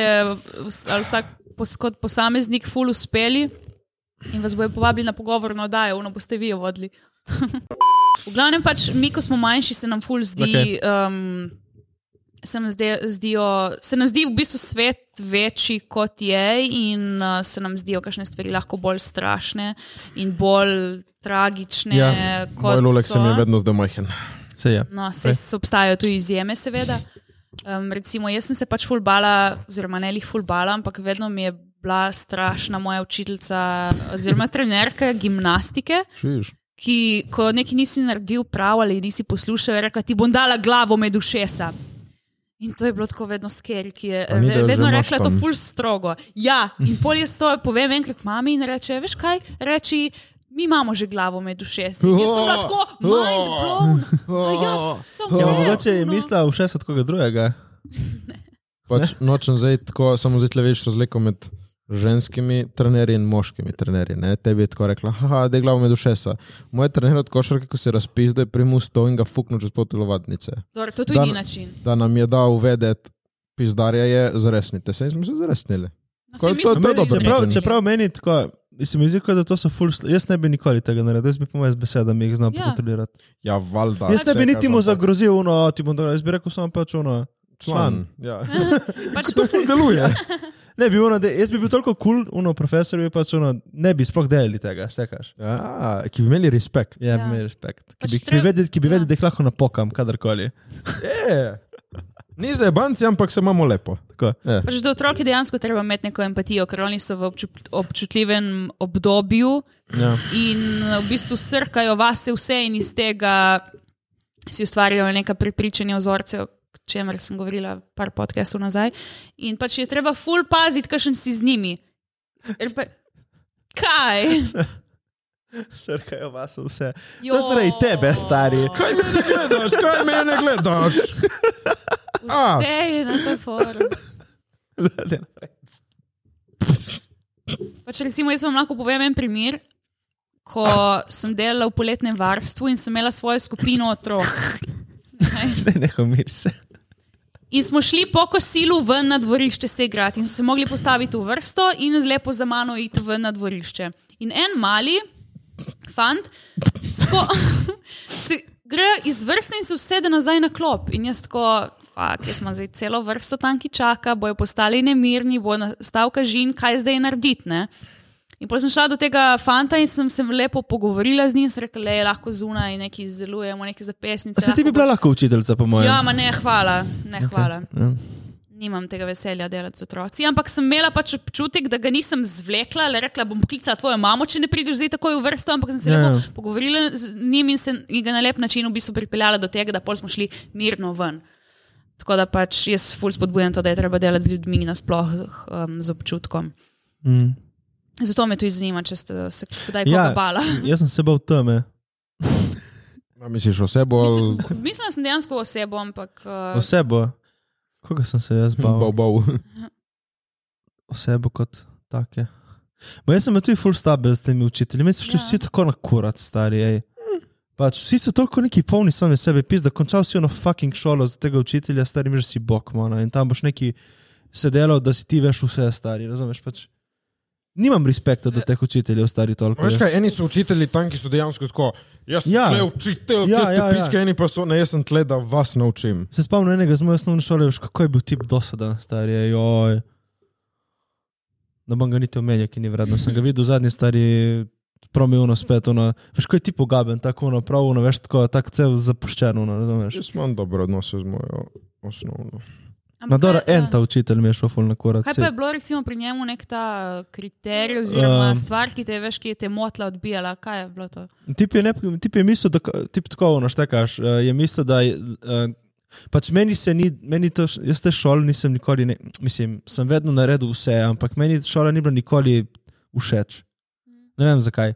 S3: vs- ali vsak pos, kot posameznik, ful uspeli in vas bojo povabili na pogovor na oddajo, ono boste vi jo vodili. <laughs> v glavnem pač mi, ko smo manjši, se nam ful zdi. Okay. Um, Se nam, zde, zdijo, se nam zdi v bistvu svet večji, kot je, in uh, se nam zdijo kakšne stvari lahko bolj strašne in bolj tragične.
S4: Ja,
S3: Ja,
S1: Moj
S3: kot
S1: lulek
S3: so.
S1: se mi je vedno zdaj majhen.
S4: Se je.
S3: No, sej s- obstajajo tudi izjeme, seveda. Um, recimo, jaz sem se pač fulbala, oziroma ne lih fulbala, ampak vedno mi je bila strašna moja učiteljica,
S1: <laughs>
S3: oziroma trenerka gimnastike,
S1: Šiš.
S3: ki, ko nekaj nisi naredil prav ali nisi poslušal, je rekla: Ti bom dala glavo med ušesa. In to je bilo tako vedno skeri, ki je
S1: Pa ni, da
S3: ve-
S1: jo že
S3: vedno
S1: imaš
S3: rekla to
S1: tam.
S3: ful strogo. Ja, in pol jaz to povem enkrat mami in reče: Veš kaj, reči. Mi imamo že glavo med ušesi. Jaz sem bila tako
S1: <laughs>
S3: mind blown. Ja, samo no.
S4: Ja,
S3: jaz,
S4: mogoče je
S3: ono.
S4: mislila v šest od koga drugega.
S1: Pač nočem zdaj tako, samo zdaj tle veš razliko med ženskimi trenerji in moškimi trenerji. Ne? Tebi je tako rekla, haha, da je glava med ušesa. Moj trener od košarke, ko se razpis, da je primu sto in ga fuknil čez pol telovadnice.
S3: Dobro, to tudi
S1: Dan-
S3: ni način.
S1: Da nam je dal vedeti, pizdarja je, zresnite se in smo se zresnili.
S3: No,
S1: Ko-
S3: saj mi
S1: to-
S3: smo
S1: to je
S3: prvi
S1: dobro.
S3: začeli.
S4: Čeprav, čeprav meni tako, se mi zdi, kot da to so full. sl- Jaz ne bi nikoli tega naredil, jaz bi po mojem z besedami jih znal
S3: Ja.
S4: ja. kontrolirati.
S1: Ja, valjda.
S4: Jaz ne bi
S1: čakaj,
S4: niti mu
S1: valjda.
S4: zagrozil, no, ti bom dal, jaz bi rekel samo pač ono.
S1: Član. Ja.
S3: pač,
S4: To ful deluje. Ne bi ono, de, jaz bi bil toliko kul, cool, uno profesor bi pač ono, ne bi sploh delili tega, štekaš.
S1: Ja, ki bi imeli respekt.
S4: Ja,
S3: Ja.
S4: bi imel respekt. Ki
S3: Pač
S4: bi, ki bi
S3: treba-
S4: vedel, ki bi
S3: ja.
S4: vedel, da jih lahko napokam, kadarkoli.
S1: Je. Ni za banci, ampak se imamo lepo.
S4: Tako.
S1: Je.
S3: pač do otrok je dejansko treba imeti neko empatijo, ker oni so v obču, občutljivem obdobju
S4: Ja.
S3: in eh, v bistvu srkajo vase vse in iz tega si ustvarjajo neka prepričanja ozorcev, o čemer sem govorila par podcastov nazaj. In pač je treba ful paziti, kakšen si z njimi. Ker Pa, kaj?
S4: Srkajo vas vse. To je zaradi tebe, stari.
S1: Kaj me ne gledaš, kaj me ne gledaš? A.
S3: Vse je na to forum. Pač recimo, jaz vam lahko povem en primer. Ko sem delala v poletnem varstvu in sem imela svojo skupino otrok.
S4: Ne, neho mir se.
S3: In smo šli po kosilu ven na dvorišče se igrati, in so se mogli postaviti v vrsto in lepo za mano iti ven na dvorišče. In en mali fant tako, <laughs> se gre iz vrste in se usede nazaj na klop. In jaz tako, fakt, jaz imam zdaj celo vrsto tam, ki čaka, bojo postali nemirni, bo nastal kažin, kaj zdaj narediti. Ne? In potem sem šla do tega fanta in sem se lepo pogovorila z njim, sem rekla, le lahko zunaj nekaj izdelujemo, nekaj zapesnice.
S4: Se ti bi
S3: lahko
S4: bila lahko učiteljica, po mojem.
S3: Ja, ma ne, hvala. Ne, okay. hvala.
S4: Ja.
S3: Nimam tega veselja delati z otroci, ampak sem imela pač občutek, da ga nisem zvlekla, le rekla bom klicala tvojo mamo, če ne prideš zdaj takoj v vrsto, ampak sem se
S4: Ja,
S3: lepo
S4: ja.
S3: pogovorila z njim in, se, in ga na lep način v bistvu pripeljala do tega, da pol smo šli mirno ven. Tako da pač jaz ful spodbujam to, da je treba delati z ljudmi nasploh um, z občutkom.
S4: Mm.
S3: Zato me tudi zanima, če ste se kdaj
S4: Ja.
S3: ja. bala.
S4: Jaz sem se bal teme.
S1: A misliš o sebi ali
S3: Mislim, <laughs> mislim, da sem dejansko osebo, ampak uh,
S4: Vse bo. Koga sem se jaz bal?
S1: bal, bal?
S4: osebo kot take. Ma jaz sem bil tudi full stabil s temi učitelji, meni so šli
S3: Ja.
S4: ja. vsi tako na kurat, stari. Ej. Pač, vsi so toliko neki polni sami sebe, pis, da končal si ono fucking šolo za tega učitelja, stari mi že si bok, mano. In tam boš neki sedel, da si ti veš vse, stari, razumeš pač. Nimam respekta do teh učiteljev, stari toliko.
S1: Veš
S4: jaz.
S1: kaj, eni so učitelji tam, ki so dejansko tako, jaz sem ja.
S4: Ja.
S1: tle učitelj, ja,
S4: Ja,
S1: jaz ste
S4: ja,
S1: ja,
S4: ja.
S1: pičke, ja. eni pa so, ne, jaz sem tle, da vas naučim.
S4: Se spomnim enega z moje osnovne šole, veš, kako je bil tip dosaden, stari, ej, joj. Ne bom ga niti omenil, ki ni vredno. Sem ga videl zadnji stari, promilno spet, ono, veš, ko je ti pogaben, tako ono, prav, ono, veš, tako, tako cel zapuščen, ono, razumeš.
S1: Jaz imam dobre odnose z mojo osnovno.
S3: ampak
S4: Na dobro,
S3: kaj- ja.
S4: en ta učitelj mi je šel ful na korak.
S3: Kaj
S4: saj.
S3: pa je bilo recimo pri njemu nek ta eh, kriterij oziroma um,
S4: Um,
S3: stvar, ki te je veš, ki je te motla odbijala? Kaj je bilo to?
S4: Tip je, ne, tip je mislil, da ka- tip tako ono štekaš. eh, Je mislil, da je. eh, Pač meni se ni, meni to, š- jaz te šole nisem nikoli, ne, mislim, sem vedno naredil vse, ampak meni šola ni bila nikoli všeč. Ne vem zakaj.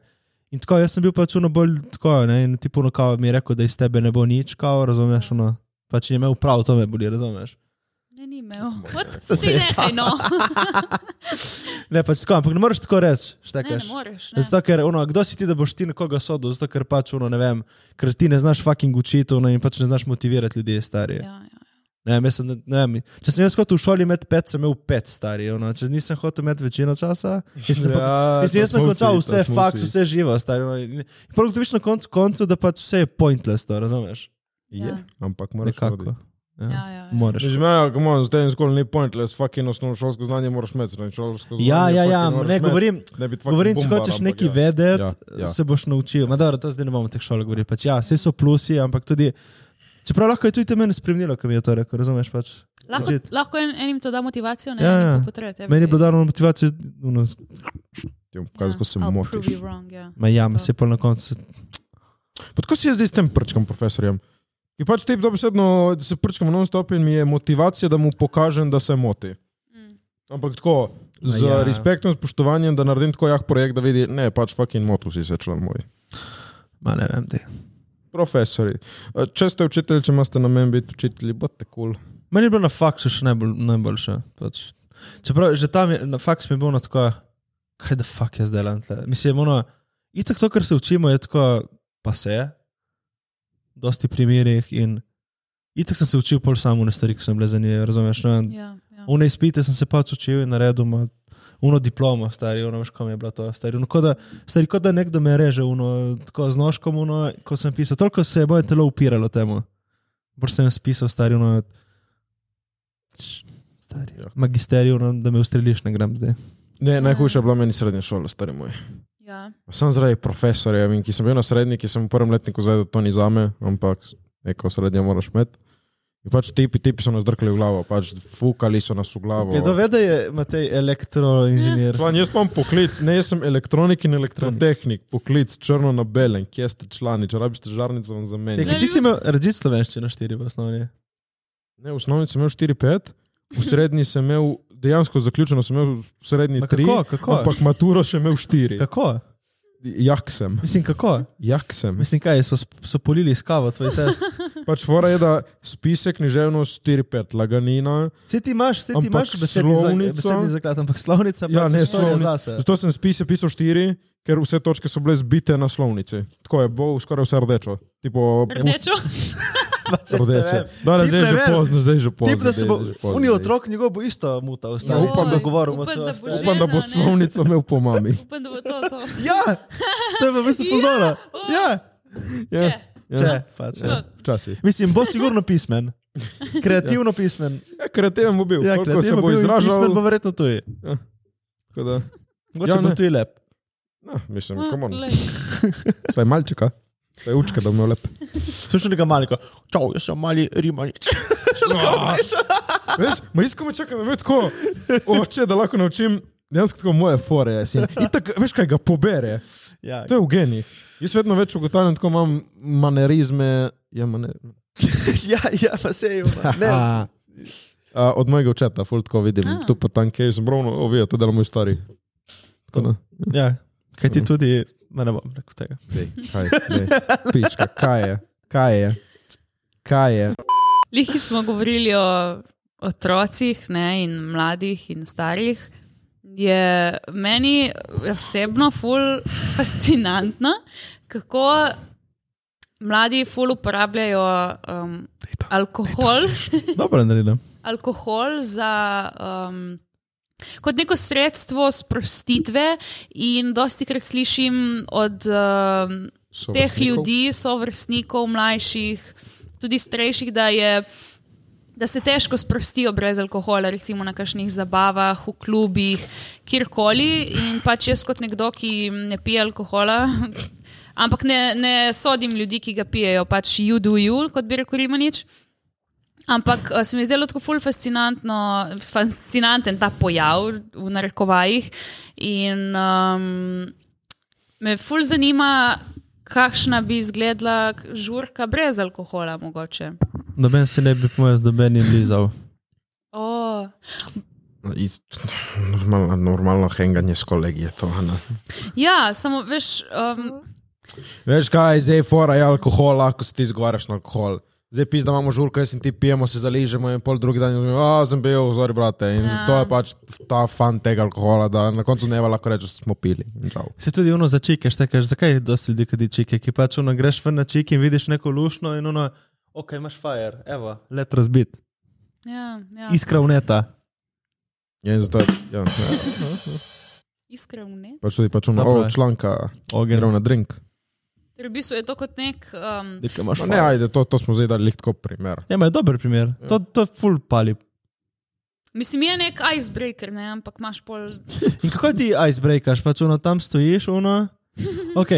S4: In tako, jaz sem bil pač uno bolj tako, ne, in tipo uno kao mi je rekel, da iz tebe ne bo nič, kao, razumeš, ono, pač je imel prav, to me boli, razumeš.
S3: Ne, ni imel.
S4: <laughs> Se
S3: Si nehaj, no.
S4: Ne, pač tako, ampak ne moreš tako reči,
S3: Ne, ne
S4: štekaš.
S3: moreš. Ne.
S4: Zato, ker, ono, kdo si ti, da boš ti nekoga sodil, zato ker pač, ono, ne vem, ker ti ne znaš fucking učiti ono, in pač ne znaš motivirati ljudi, stari.
S3: Ja,
S4: Ja.
S3: ja.
S4: Ne, vem, jaz sem, ne vem, če sem jaz hotel v šoli imeti pet, sem imel pet, stari. Ono, če nisem hotel imeti večino
S1: <laughs>
S4: časa, nisem ja,
S1: Ja,
S4: Mislim,
S1: to
S4: jaz sem
S1: smo
S4: končal
S1: vsi, to
S4: vse
S1: smo
S4: faks,
S1: vsi.
S4: vse živo, stari. ono, in- in Prav gotoviš na koncu, koncu, da pač vse je pointless, to razumeš?
S1: Je,
S3: Ja.
S1: ampak moraš
S4: Nekako.
S3: Ja, ja, ja.
S4: Moraš.
S1: Že imajo, kako imamo, zdaj nikoli ni pointless, fucking osnovno šolsko znanje moraš imeti, ne, šolsko znanje.
S4: Ja, ja, ja,
S1: fucking moraš
S4: ne
S1: imeti.
S4: govorim.
S1: Ne biti fucking
S4: Govorim, če
S1: bombar,
S4: hočeš
S1: ampak
S4: nekaj
S1: ja.
S4: vedeti,
S1: Ja, ja.
S4: se boš naučil. Ma dobro, to zdaj ne bomo teh šol govorili. Pač, ja, vse so plusi, ampak tudi. Čeprav lahko je tudi te mene spremljalo, ko mi je to rekel, razumeš? Pač.
S3: Lahko,
S4: Legit.
S3: lahko en, enim to da motivacijo, ne,
S4: Ja,
S3: ja,
S4: ja.
S3: ja. potrebuje.
S4: Meni je bilo dano motivacijo, no,
S1: Ti bom pokazal, kako se motiš.
S3: Ja.
S4: ma ja, ma se pa na koncu.
S1: Pa tako si jaz zdaj s tem prčkam, profesorjem. In pač te dobesedno se prčkam non-stop in mi je motivacija, da mu pokažem, da se moti. Ampak tako, z
S4: Ma
S1: ja.
S4: ja.
S1: respektom, spoštovanjem, da naredim tako jah projekt, da vidi, ne, pač fucking motil si se član moj.
S4: Ma ne vem, te.
S1: Profesori, eh, če ste učitelj, če imate namen biti učitelji, bote kul. Cool.
S4: Meni je bilo na faksu še najbolj, najboljše. Pač. Čeprav že tam je, na faks mi je bilo ono tako, kaj da fuck jaz delam tle. Mislim, ono, itak to, kar se učimo, je tako, pa se je, v dosti primerih in itak sem se učil pol samo na stvari, ki sem bile za nje, razumeš? Ne? vem.
S3: Ja, ja.
S4: Une izpite sem se pač učil in naredil, ma, uno diplomo, stari, uno veš, kam je bila to, stari. Uno, kot da, stari, kot da nekdo me reže, uno, tako z nožkom, uno, ko sem pisal, toliko se je moje telo upiralo temu. Bolj sem spisal, stari, uno, stari, ja. magisterij, uno, da me ustreliš, ne grem zdaj.
S1: Ne, najhujša je bila meni srednja šola, stari moj.
S3: Ja.
S1: Sam zaradi profesorja, in ki sem bil na srednji, ki sem v prvem letniku zdaj, da to ni zame, ampak neko srednjo moraš imeti. In pač tipi, tipi so nas drkali v glavo, pač fukali so nas v glavo.
S4: Je dovede, je Matej elektroinženir.
S1: Plan, jaz imam poklic, ne jaz sem elektronik in elektrotehnik, poklic črno na belem, kje ste člani, če rabiš težarnico vam za meni.
S4: Čekaj, ti si imel reči slovenščino štiri v osnovi.
S1: Ne, v osnovni sem imel 4-5, v srednji sem imel, dejansko zaključeno sem imel v srednji
S4: Ma
S1: 3,
S4: kako, kako?
S1: ampak maturo še imel 4.
S4: Kako?
S1: Jak sem,
S4: Mislim, kako?
S1: jak sem.
S4: Mislim, kaj so, sp- so polili s kavo tvoj test.
S1: Pač fora je, da spise književnost 4-5, laganina.
S4: Vse ti imaš, vse ti
S1: Ampak
S4: imaš besedni
S1: slovnico-
S4: za- besedni zaklad, ampak slovnica
S1: Ja,
S4: pač
S1: ne,
S4: istorija
S1: slovnic-
S4: zase.
S1: Zato sem spise pisal 4, ker vse točke so bile zbite na slovnici. Tako je, bo skoraj vse rdečo. Tipo,
S3: Rdečo?
S4: Pač jaz ne
S1: Rdeče.
S4: vem.
S1: Dobro,
S4: Tip
S1: zdaj je
S4: ne
S1: že
S4: vem.
S1: pozno, zdaj je že pozno.
S4: Tip, da
S1: zdaj
S4: se
S1: je
S4: bo,
S1: že pozno,
S4: unji
S1: zdaj.
S4: otrok, njegov bo isto muta, ostali.
S1: Ja, upam, da-
S4: govoril.
S3: upam, da bo
S1: Upam, da bo
S3: Žena, ne.
S1: slovnica imel po
S4: <laughs>
S1: mami.
S3: Upam, da bo to to.
S4: Ja, to je pa v bistvu fulano. Ja,
S1: Ja,
S4: če, pač. ja.
S1: včasih.
S4: Mislim, bo sigurno pismen. Kreativno pismen.
S1: Ja, kreativen bo bil,
S4: Ja,
S1: koliko se
S4: kreativno
S1: bo
S4: bil in pismen bo
S1: izražal.
S4: verjetno tuji.
S1: tako da-
S4: Mogoče
S1: Ja,
S4: bo
S1: ne.
S4: tuji lep.
S1: No, mislim,
S4: Ah,
S1: come on.
S3: Glej.
S1: Saj malčka. Saj učka, da bo imel lep.
S4: Slišal nekaj malega. Čau, jaz sem mali rimanič. <laughs>
S1: Ah. Veš, ma iskamo čakam, da me tako oče, da lahko naučim. Dejansko tako moje fore je. sin. Itak, veš kaj ga pobere.
S4: Ja,
S1: To je v genih. Jaz vedno več ugotavljam, tako imam manerizme. Ja, maner...
S4: <laughs> ja, ja, pa se
S1: <laughs>
S4: je. Ne,
S1: A, a, od mojega očeta, ful tako vidim.
S3: A.
S1: Tu pa tam, kjer sem brovno, ovijo, to dela moj stari. Tako no. da.
S4: Ja, kaj ti tudi, ma ne bom rekel tega.
S1: Dej, kaj, <laughs> dej. Pička, kaj je? Kaj je? Kaj je?
S3: Lihi smo govorili o otrocih ne, in mladih in starih. Je meni osebno ful fascinantno, kako mladi ful uporabljajo um, alkohol,
S4: Dobro, naredim.
S3: alkohol za. Um, Kot neko sredstvo sprostitve, in dosti krat slišim od um, teh ljudi, sovrstnikov, mlajših, tudi starejših, da, je, da se težko sprostijo brez alkohola, recimo na kakšnih zabavah, v klubih, kjerkoli. In pač jaz kot nekdo, ki ne pije alkohola. Ampak ne, ne sodim ljudi, ki ga pijejo, pač you do you, kot bi rekel Rimanič. Ampak eh, se mi je zdelo tako ful fascinantno, fascinanten ta pojav v narekovajih. In um, me ful zanima, kakšna bi izgledala žurka brez alkohola, mogoče.
S4: Noben se ne bi pomil, noben je blizal.
S3: O,
S1: Normalno, normalno henganje s kolegi je to. Ne?
S3: ja, samo veš, um,
S1: Veš kaj, zdaj fora je alkohol, lahko se ti izgovarjaš na alkohol. Zdaj pis, da imamo žurko, jaz in ti pijemo, se zaližemo in pol drugi dan, a sem bil, zori brate. In ja. zato je pač ta fan tega alkohola, da na koncu dneva lahko rečeš, smo pili. In čau.
S4: Se tudi ono začikaš, tekaš, zakaj je dosti ljudi, ki čike, ki pač ono greš ven na čik in vidiš neko lušno in ono, ok, imaš fire, evo, let razbit.
S3: ja, ja,
S4: Iskra vneta.
S1: Ja, in zato je ja, ja,
S3: iskreno ne.
S1: pač tudi pač ono,
S4: Dobro
S1: o,
S4: je.
S1: članka,
S4: Ogen.
S1: gremo na drink.
S3: Ker Torej, v bistvu je to kot nek. Um,
S4: Dika imaš
S1: No, ne,
S4: fire.
S1: ajde, to, to smo zdaj dali lih tako primer.
S4: Ja, ma je dober primer. To, to je full pali.
S3: mislim, je nek icebreaker, ne? ampak imaš pol.
S4: In kako ti icebreakaš, pač ono tam stojiš,
S3: <laughs>
S4: ono, ok.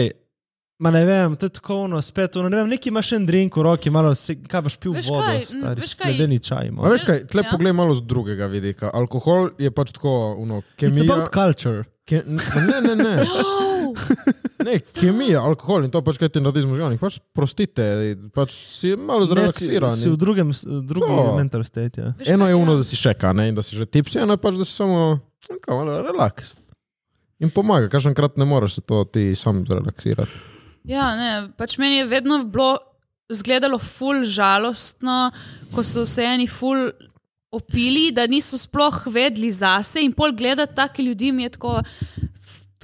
S4: Ma ne vem, to je tako ono, spet ono, ne vem, neki imaš en drink v roki, malo se, kaj boš pil
S3: Veš
S4: vodo,
S3: kaj, n-
S4: stari,
S3: veš kaj-
S4: sledeni čaj.
S1: A
S4: malo.
S1: veš kaj, tle
S3: Ja.
S1: ja. pogled malo z drugega vidika. Alkohol je pač tako, ono,
S4: It's
S1: kemija.
S4: about culture.
S1: Ke, ne, ne, ne.
S3: <laughs> Oh,
S1: Ne, kemija, alkohol in to pač kaj ti naredi z možgani. Pač prostite, pač si malo
S4: Ne, si, si v
S1: zrelaksiran.
S4: drugem, s- drugi
S1: To.
S4: mental state. Ja.
S3: veš
S1: Eno
S3: kaj,
S1: je ono,
S3: ja.
S1: da si še kaj, ne, in da si že tipsi, eno je pač, da si samo, kako, malo relaks. In pomaga, kaženkrat ne moreš se to ti sam zrelaksirati.
S3: Ja, ne, pač meni je vedno bilo, izgledalo ful žalostno, ko so vse eni ful opili, da niso sploh vedeli zase in pol gledati take ljudi mi je tako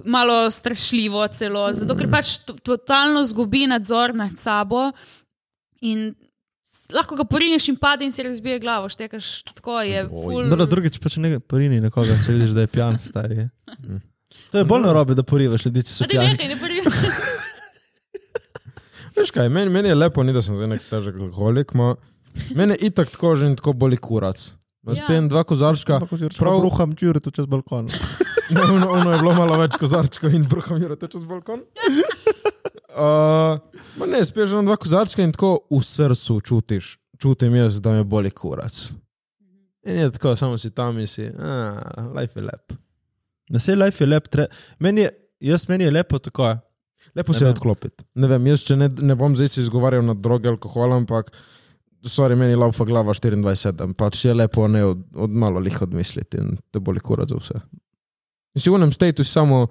S3: malo strašljivo celo, zato ker pač to- totalno zgubi nadzor nad sabo in s- lahko ga porineš in pade in si razbije glavo, štekaš tako je. Ful...
S4: Dobro, drugič pa če ne porini nekoga, če vidiš, da je pijan, stari. To je bolj narobe, da porivaš ljudi, če so
S3: A ti
S4: pijani.
S3: nekaj, ne prvi.
S1: Veš kaj, meni, meni je lepo, ni da sem zdaj nek težek alkoholik, ma mene itak tako že in tako boli kurac. Jaz
S3: Ja.
S1: pijem dva kozarčka,
S4: Prav
S1: prav
S4: ruham čure tu čez balkon.
S1: Ne, ono, ono je bilo malo več kozarčkov in bruhom je reče čez
S4: <laughs>
S1: balkon. Uh, ma ne, spiješ na dva kozarčka in tako v srcu čutiš, čutim jaz, da me boli kurac. In je tako, samo si tam in si, a, life je lep.
S4: Na vse life je lep, tre... meni je, jaz meni je lepo tako.
S1: Lepo
S4: Ne
S1: se je
S4: vem.
S1: odklopiti. Ne vem, jaz če ne, ne bom zdaj se izgovarjal na droge, alkohol, ampak, sorry, meni laufa glava 24-7, pač je lepo ne od, od malo lih odmisliti in te boli kurac za vse. In si v enem stateu samo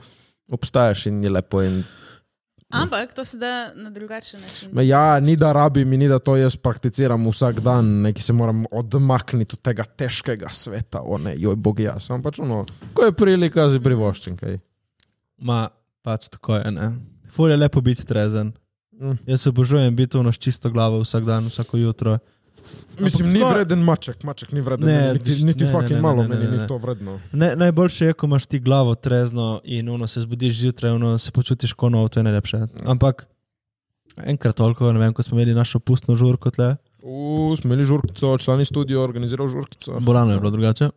S1: obstajaš in je lepo in
S3: Ampak to se da na drugačen način.
S1: Ma Ja, ni da rabim in ni da to jaz prakticiram vsak dan, neki se moram odmakniti od tega težkega sveta, o ne, joj, bog jaz. Sam pač ono, ko je prilika, si privoščim kaj.
S4: Ma, pač tako je, ne. Ful je lepo biti trezen.
S1: Mm.
S4: Jaz obožujem biti ono s čisto glavo vsak dan, vsako jutro.
S1: Mislim, ni
S4: tako-
S1: vreden maček, maček ni vreden,
S4: Ne,
S1: ne, niti,
S4: tiš-
S1: niti
S4: ne, ne,
S1: fucking
S4: ne,
S1: malo,
S4: ne, ne,
S1: meni
S4: ne,
S1: ni
S4: ne.
S1: to vredno.
S4: Ne, najboljše je, ko imaš ti glavo trezno in ono se zbudiš zjutraj, ono se počutiš kot nov, to je najlepše. Ampak enkrat toliko, ne vem, ko smo imeli našo pustno žurko tle,
S1: U, smeli žurkico, člani studio organiziral žurkico.
S4: bolano je bilo drugače.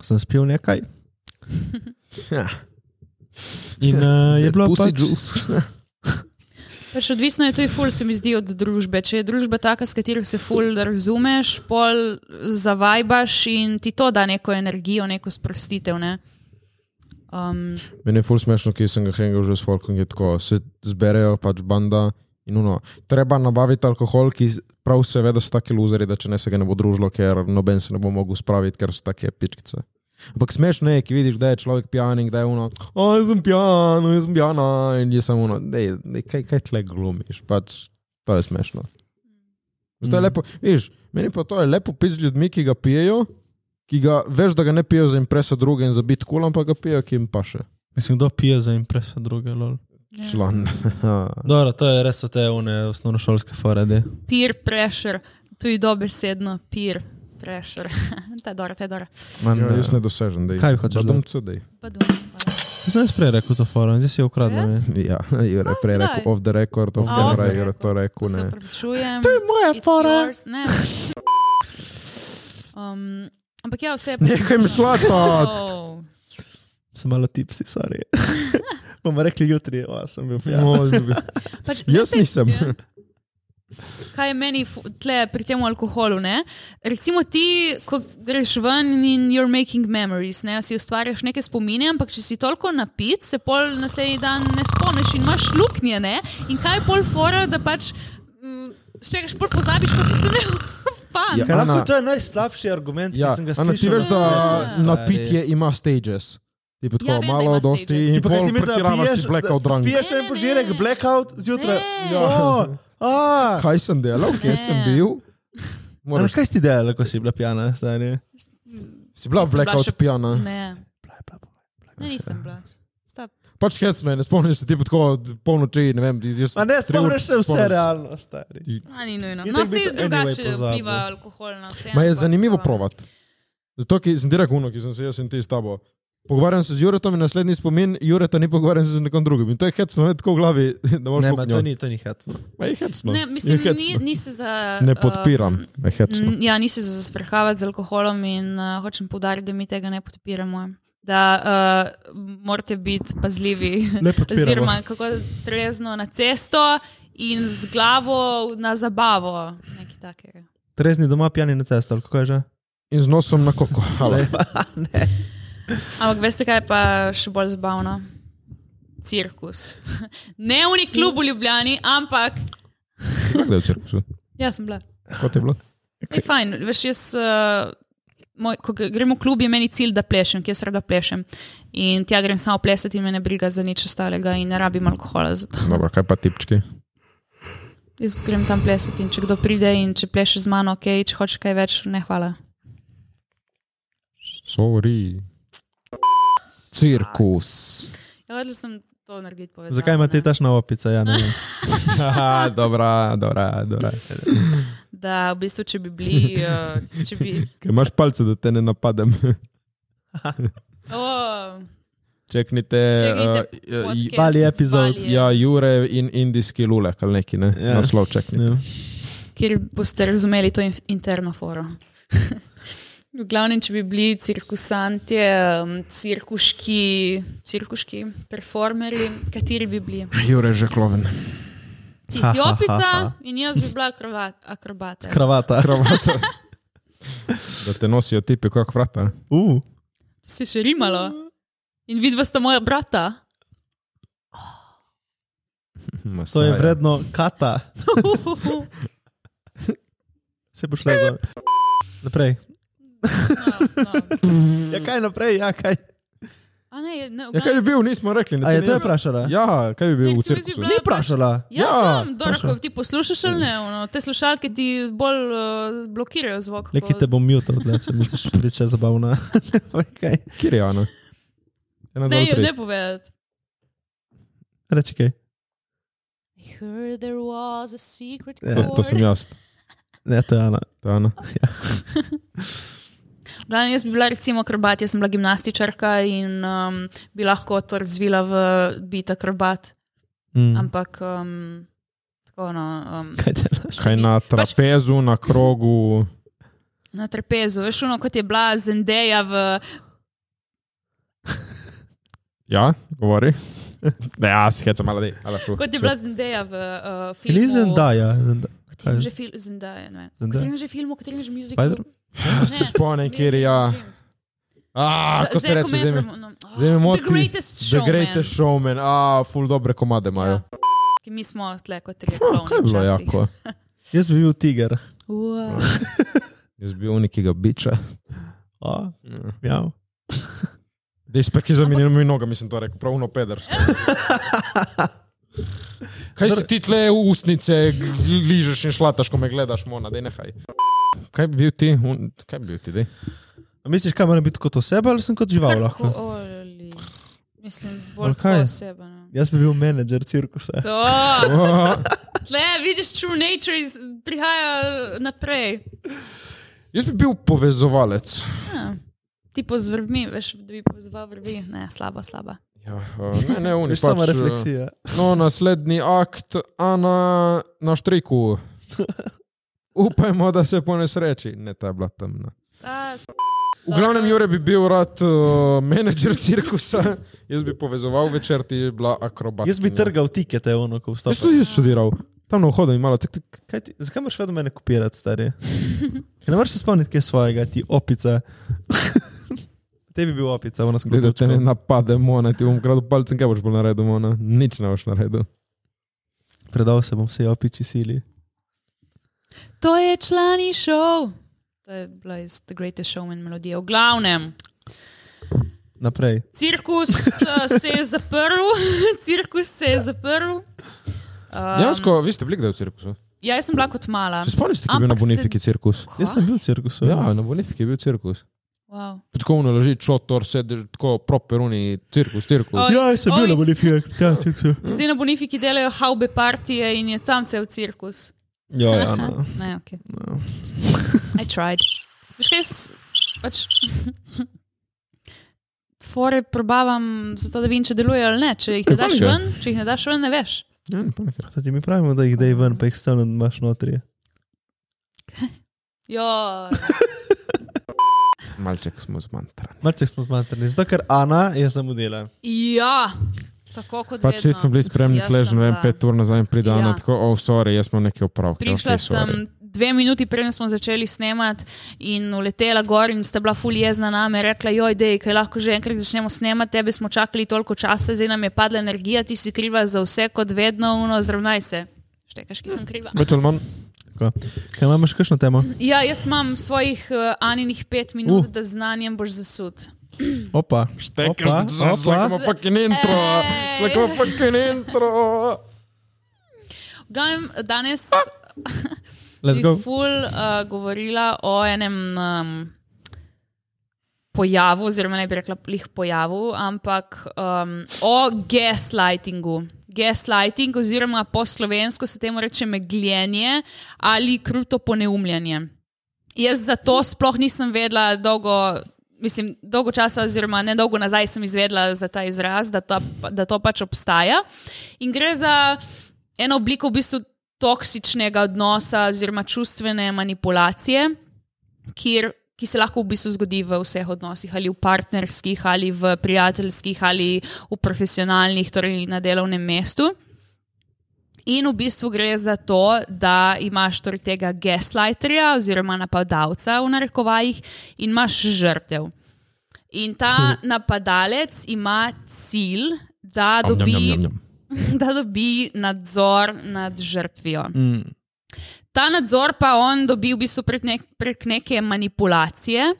S4: Sem spil nekaj.
S1: <laughs> Ja.
S4: In uh, je bilo
S1: Pussy
S4: pač,
S1: juice.
S3: Pač odvisno je tudi ful, se mi zdi, od družbe. Če je družba taka, s katero se ful razumeš, pol zavajbaš in ti to da neko energijo, neko sprostitev. Ne? Um,
S1: Meni je ful smešno, ki sem ga hengal že s Folkom, je tako, se zberejo pač banda in uno. Treba nabaviti alkohol, ki s- prav seveda so taki luzeri, da če ne se ga ne bo družilo, ker noben se ne bo mogel spraviti, ker so take pičkice. Ampak smešno je, ki vidiš, da je človek pijan in da je uno, o, jaz sem pijan, o, jaz sem pijana in je samo uno, dej, dej, kaj, kaj tle glumiš, pač to je smešno. Zato je lepo, vidiš, meni pa to je lepo piti z ljudmi, ki ga pijejo, ki ga veš, da ga ne pijejo za impresa druge in za bit kul, ampak ga pijejo, ki jim paše
S4: mislim, kdo pije za impresa druge. Lol.
S1: član.
S4: Ja.
S1: <laughs>
S4: Dobro, to je res so te one osnovnošolske farade.
S3: peer pressure, tudi dobesedno peer pressure. <laughs> ta je dobro, ta je dobro.
S1: Ja, jaz ne dosežem, da je.
S4: Kaj hočeš
S1: Da
S4: reči?
S1: dom cudej.
S3: Pa dum, hvala.
S4: Sem jaz prej rekel to forum, zdaj si jo ukradel.
S3: Res?
S1: <laughs>
S4: Yes.
S1: Ja, Jure, prej
S3: kdaj?
S1: rekel off the record, off
S3: A,
S1: the
S3: off the
S1: record, Jure to
S3: record.
S1: rekel
S3: Se
S1: ne.
S3: opravičujem.
S5: Moja
S3: It's
S5: fora.
S3: yours. Ne. Um, ampak ja, vse je
S1: Nekaj mi
S3: <laughs>
S1: šlato!
S3: Oh.
S4: Sem malo tipsi,
S1: <laughs>
S4: sorry. <laughs> Bomo rekli jutri, o, sem bil ja. pijan.
S3: Pač,
S1: Jaz
S3: saj-
S1: nisem.
S3: Ja. Kaj je meni fu- tle pri tem alkoholu? Ne? Recimo ti, ko greš ven in you're making memories, ne? si ustvarjaš neke spomine, ampak če si toliko napit, se pol naslednji dan ne spomniš in imaš luknje. Ne? In kaj je pol fora, da pač še kaš pol pozabiš, ko si se imel <laughs> fan.
S1: Ja.
S4: Kaj lahko
S1: Ana-
S4: to je najslabši argument,
S1: Ja,
S4: ki sem ga
S1: Ana,
S4: slišal. no,
S1: ti veš, da
S3: Ja.
S1: napitje ima stages. Ti pa
S3: Ja,
S1: tako
S3: vem, da
S1: malo
S3: ima
S1: dosti
S3: stages.
S1: in
S3: Ti
S4: Pa kaj ti
S1: pol
S4: misliš, da
S1: pretiravaš
S4: piješ-
S1: si blackout
S4: da
S1: drunk.
S4: Spiješ
S3: Ne,
S4: en
S3: ne,
S4: požirek,
S3: ne.
S4: blackout zjutraj.
S3: Ne.
S4: Ja. A,
S1: Kaj sem delal, kje
S3: Ne.
S1: sem bil?
S4: Ana,
S1: Moraš,
S4: kaj si ti delal, ko si bila pijana, stari?
S1: si bila
S3: Sem bila
S1: blackout
S3: še-
S1: pijana.
S3: Ne, ne nisem bila. Stop.
S1: Pač hecno je, ne spomniš se ti pa tako polnoči, ne vem. jaz
S4: A ne,
S1: tri ur
S4: spomniš se vse
S1: spomniš.
S4: realno, stari.
S3: A, ni nujno.
S4: Itak
S3: No,
S4: Ja, bi
S3: se
S4: to
S3: drugače
S4: anyway pozabil.
S3: vpliva alkohol na vse.
S1: Ma je
S3: ampak- eh,
S1: zanimivo provat. Zato ki sem ti rekel, uno, ki sem se jaz in ti s tabo. Pogovarjam se z Juretom in naslednji spomin Jureta ni pogovarjam se z nekom drugim. In to je hecno, ne tako v glavi, <laughs> da moraš
S4: Ne, ma,
S1: luknjo.
S4: to ni, to ni hecno.
S1: Ma je hecno.
S3: Ne, mislim,
S1: No. je hecno.
S3: ni, ni se za.
S1: ne
S3: um,
S1: podpiram. je hecno.
S3: Mm, Ja, nisi se zasprhavati z alkoholom in uh, hočem poudariti, da mi tega ne podpiramo. Da uh, morate biti
S1: <laughs>
S3: pazljivi,
S4: Ne podpiramo.
S3: oziroma kako trezno na cesto in z glavo na zabavo. nekaj takega.
S4: Trezni doma, pijani na cesto, ali kako je že?
S1: In z nosom na
S4: <laughs>
S1: koko. Hvala.
S4: Zdaj pa-
S3: Ampak veste, kaj je pa še bolj zabavno? Cirkus. <laughs> Ne v neki klub v Ljubljani, ampak
S1: Kako je v cirkusu?
S3: jaz sem bila.
S1: Kot je bilo?
S3: Je fajn, veš, jaz, uh, moj, ko gre- grem v klub, je meni cilj, da plešem, ki jaz rada plešem. In tja grem samo plesati in me ne briga za nič ostalega in ne rabim alkohola za to.
S1: Dobro, kaj pa tipčki?
S3: Jaz grem tam plesati in če kdo pride in če plešeš z mano, ok, če hočeš kaj več, ne hvala.
S1: Sorry. Cirkus.
S3: Ja, vedela sem to narediti povedati.
S4: Zakaj ima te tašna opica? Ja, ne
S1: <laughs>
S4: vem. Haha, dobra, dobra, dobra.
S3: Da, v bistvu, če bi
S1: <laughs>
S3: bili. eh, Če bi,
S1: Ker imaš palce, da te ne napadem.
S3: oh,
S1: Čeknite.
S3: Čakajte,
S1: eh,
S3: podcast
S1: eh,
S4: Bali
S3: s
S4: epizod.
S3: Balijem,
S1: ja, Jure in indijski lulek ali neki, ne?
S4: Ja.
S1: Ja. Naslov čeknite.
S4: Ja.
S3: Kjer boste razumeli to in, interno foro. <laughs> V glavnem, če bi bili cirkusantje, em, cirkuški, cirkuški performerji, kateri bi bili?
S1: Jure je že kloven.
S3: Ti si opica in jaz bi bila akrovat, akrobata.
S4: Kravata.
S1: Kravata. Da te nosijo tipi, kako vrata.
S4: Uh,
S3: si še rimalo. In vidva sta moja brata.
S4: to je vredno kata.
S3: Uhuhu.
S4: Se boš le dol. Naprej.
S3: No, no.
S4: Ja, kaj naprej, ja, kaj.
S3: A ne, ne, v
S1: Ja, kaj bi
S3: glavnem-
S1: bil, nismo rekli. Ne,
S4: A je to je
S1: nis-
S4: vprašala?
S1: Ja, kaj bi bil
S3: Ne,
S1: v
S3: cirkus bi
S1: cirkusu?
S3: bila-
S4: Ni vprašala.
S3: Ja,
S1: Ja,
S3: sem, Dorko,
S4: točno.
S3: ti poslušaš ali ne? Ono, te slušalke ti bolj uh, blokirajo zvok.
S4: Neki te bom mutil, tle, če misliš, da je še zabavna. <laughs> Ne vem, kaj.
S1: Kirjana. Ena, dva,
S3: ne,
S1: tri.
S3: ne povedati.
S4: Reči kaj.
S3: I heard there was a secret
S4: Ja.
S1: To, to sem jaz.
S4: Ne, to je Ana.
S1: To je Ana.
S3: Glavno, jaz bi bila recimo akrobat, jaz sem bila gimnastičarka in um, bi lahko to razvila v biti akrobat,
S4: Mm.
S3: ampak um, tako no. Um,
S4: Kaj delaš?
S1: Kaj na trapezu, na krogu.
S3: Na trpezu, veš, ono kot je bila Zendeja v.
S1: Ja,
S3: <laughs>
S1: govori. Ne, ja, si heca malo, da
S3: Kot je bila Zendeja v uh, filmu.
S4: Ni Zendaya. Zenda-
S3: Katerem že fil- Zendaya, ne vem. V
S4: Zendaya?
S3: Katerem že filmu, v katerem že
S4: Spider-
S3: muziku.
S1: Ja, Se spomnim, kjer je. ja. A, ko se reče, zemi. Zemi moti.
S3: no. The greatest
S1: The
S3: show.
S1: Greatest Showman. A, ful dobre komade imajo.
S3: Ja, Mi smo tle kot
S1: Ja. Kaj je bilo
S3: rekli.
S1: jako?
S4: Jaz bi bil tiger.
S1: Jaz bi bil nekega biča.
S4: O, ja.
S1: Dej spek za minimi nogami, sem to rekel, pravno pedersko. Kaj si ti tle usnice g- ližeš in šlataš, ko me gledaš, mona, dej nehaj. Kaj bi bil ti? Un- Kaj bi bil ti, dej?
S4: A misliš, kaj moram biti kot oseba ali sem kot žival lahko?
S3: Mislim,
S4: Ali
S3: bolj
S4: kaj?
S3: kot osebe. no.
S4: Jaz bi bil menedžer cirkusa.
S3: To, tle vidiš, true nature iz- prihaja naprej.
S1: Jaz bi bil povezovalec.
S3: Ti pozvrbi, veš, da bi pozval vrbi. Ne, slaba, slaba.
S1: Ja, eh, ne, ne, oni
S4: Veš, sama
S1: pač. eh,
S4: refleksija.
S1: No, naslednji akt, a na, na
S4: <laughs>
S1: štriku. Upajmo, da se ponesreči. Ne, ta je bila temna.
S3: Ta,
S1: V glavnem, Jure bi bil rad uh, menedžer cirkusa, <laughs> jaz bi povezoval večer, ti bi bila akrobat.
S4: Jaz bi trgal tikete, ono, ko
S1: pač Jaz tudi
S4: vstopim.
S1: jaz študiral, tam na vhodu in malo tak, tak.
S4: Kaj ti- Zakaj moraš vedno mene kopirati, stari? Ker Ne moreš se spomniti, kje je svojega, ti opica. <laughs> Tebi bi bil opica, ono sem
S1: Glej, da
S4: gledal.
S1: te ne napade, mona, ti bom kradel palcem, kaj boš bolj naredil, mona. Nič ne boš naredil.
S4: Predal se bom vsej opiči sili.
S3: To je člani šov. To je bila iz The Greatest Showman melodije. V glavnem,
S4: Naprej.
S3: cirkus eh, se je zaprl, <laughs> cirkus se je zaprl. Um,
S4: Ja,
S1: Jansko, vi ste bili kdaj v cirkusu?
S3: ja, jaz sem bila kot mala.
S1: um, Se spomnite, ki je bil na
S3: Ampak se-
S1: Bonifiki cirkus?
S3: Kva?
S4: Jaz sem bil v cirkusu.
S1: Ja, na Bonifiki je bil cirkus.
S3: Wow.
S1: Tako unaloži čotor, sediš tako properuni, cirkus, cirkus.
S3: Oj,
S4: Ja, jaz sem
S3: oj.
S4: bil na Boliviji, ja, v cirkusu.
S3: Zdaj na Bonifiki delajo haube partije in je tam cel cirkus.
S4: Ja, ja, no.
S3: Ne, ok. I tried. Veš kaj, jaz pač. <laughs> Fore probavam, zato da vidim, če deluje ali ne. Če jih ne
S1: Ja,
S3: daš
S1: panika.
S3: ven, če jih ne daš ven, ne veš.
S1: Ja, ne pomnim.
S4: To ti mi pravimo, da jih dej ven, pa jih stalno imaš notri.
S3: Jo,
S1: Malček smo zmantrani.
S4: Malce smo zmatrni, zato ker Ana je zamudila.
S3: ja. tako kot
S1: Pač
S3: vedno.
S1: če smo bili spremni,
S3: Jaz
S1: lež,
S3: sem
S1: ne vem,
S3: bila.
S1: pet ur nazaj in pride
S3: Ja.
S1: Ana, tako, oh, sorry, jaz imam neke opravke.
S3: Prišla
S1: okej,
S3: okay, sem
S1: sorry."
S3: dve minuti, preden smo začeli snemati, in uletela gor, in sta bila fully jezna na me, rekla, joj, dej, kaj lahko že enkrat začnemo snemati, tebe smo čakali toliko časa, zdaj nam je padla energija, ti si kriva za vse, kot vedno, uno, zravnaj se. Štekaš, ki sem kriva.
S1: Več ali manj.
S4: Tako. Kaj imamo še kakšno temo?
S3: Ja, jaz imam svojih uh, Aninih pet minut, uh.
S4: Uh.
S3: da z znanjem boš zasud.
S4: Opa. Opa,
S1: Tekeš, da se
S4: opa.
S1: lahko fucking intro,
S3: Ej.
S1: lahko fucking intro.
S3: V Glavnem, danes
S4: Ah,
S3: bi
S4: Let's
S3: eh,
S4: go.
S3: ful uh, govorila o enem um, pojavu, oziroma ne bi rekla plih pojavu, ampak um, o gaslightingu. Gaslighting, oziroma po slovensko se temu reče megljenje ali kruto poneumljanje. Jaz za to sploh nisem vedela dolgo. Mislim, dolgo časa, oziroma ne dolgo nazaj, sem izvedela za ta izraz, da, ta, da to pač obstaja. In gre za eno obliko v bistvu toksičnega odnosa, oziroma čustvene manipulacije, kjer, ki se lahko v bistvu zgodi v vseh odnosih, ali v partnerskih, ali v prijateljskih, ali v profesionalnih, torej na delovnem mestu. In v bistvu gre za to, da imaš torej tega gaslighterja oziroma napadalca v narekovajih in imaš žrtev. In ta napadalec ima cilj, da dobi, <laughs> da dobi nadzor nad žrtvijo.
S4: Mm.
S3: Ta nadzor pa on dobi v bistvu prek, nek, prek neke manipulacije,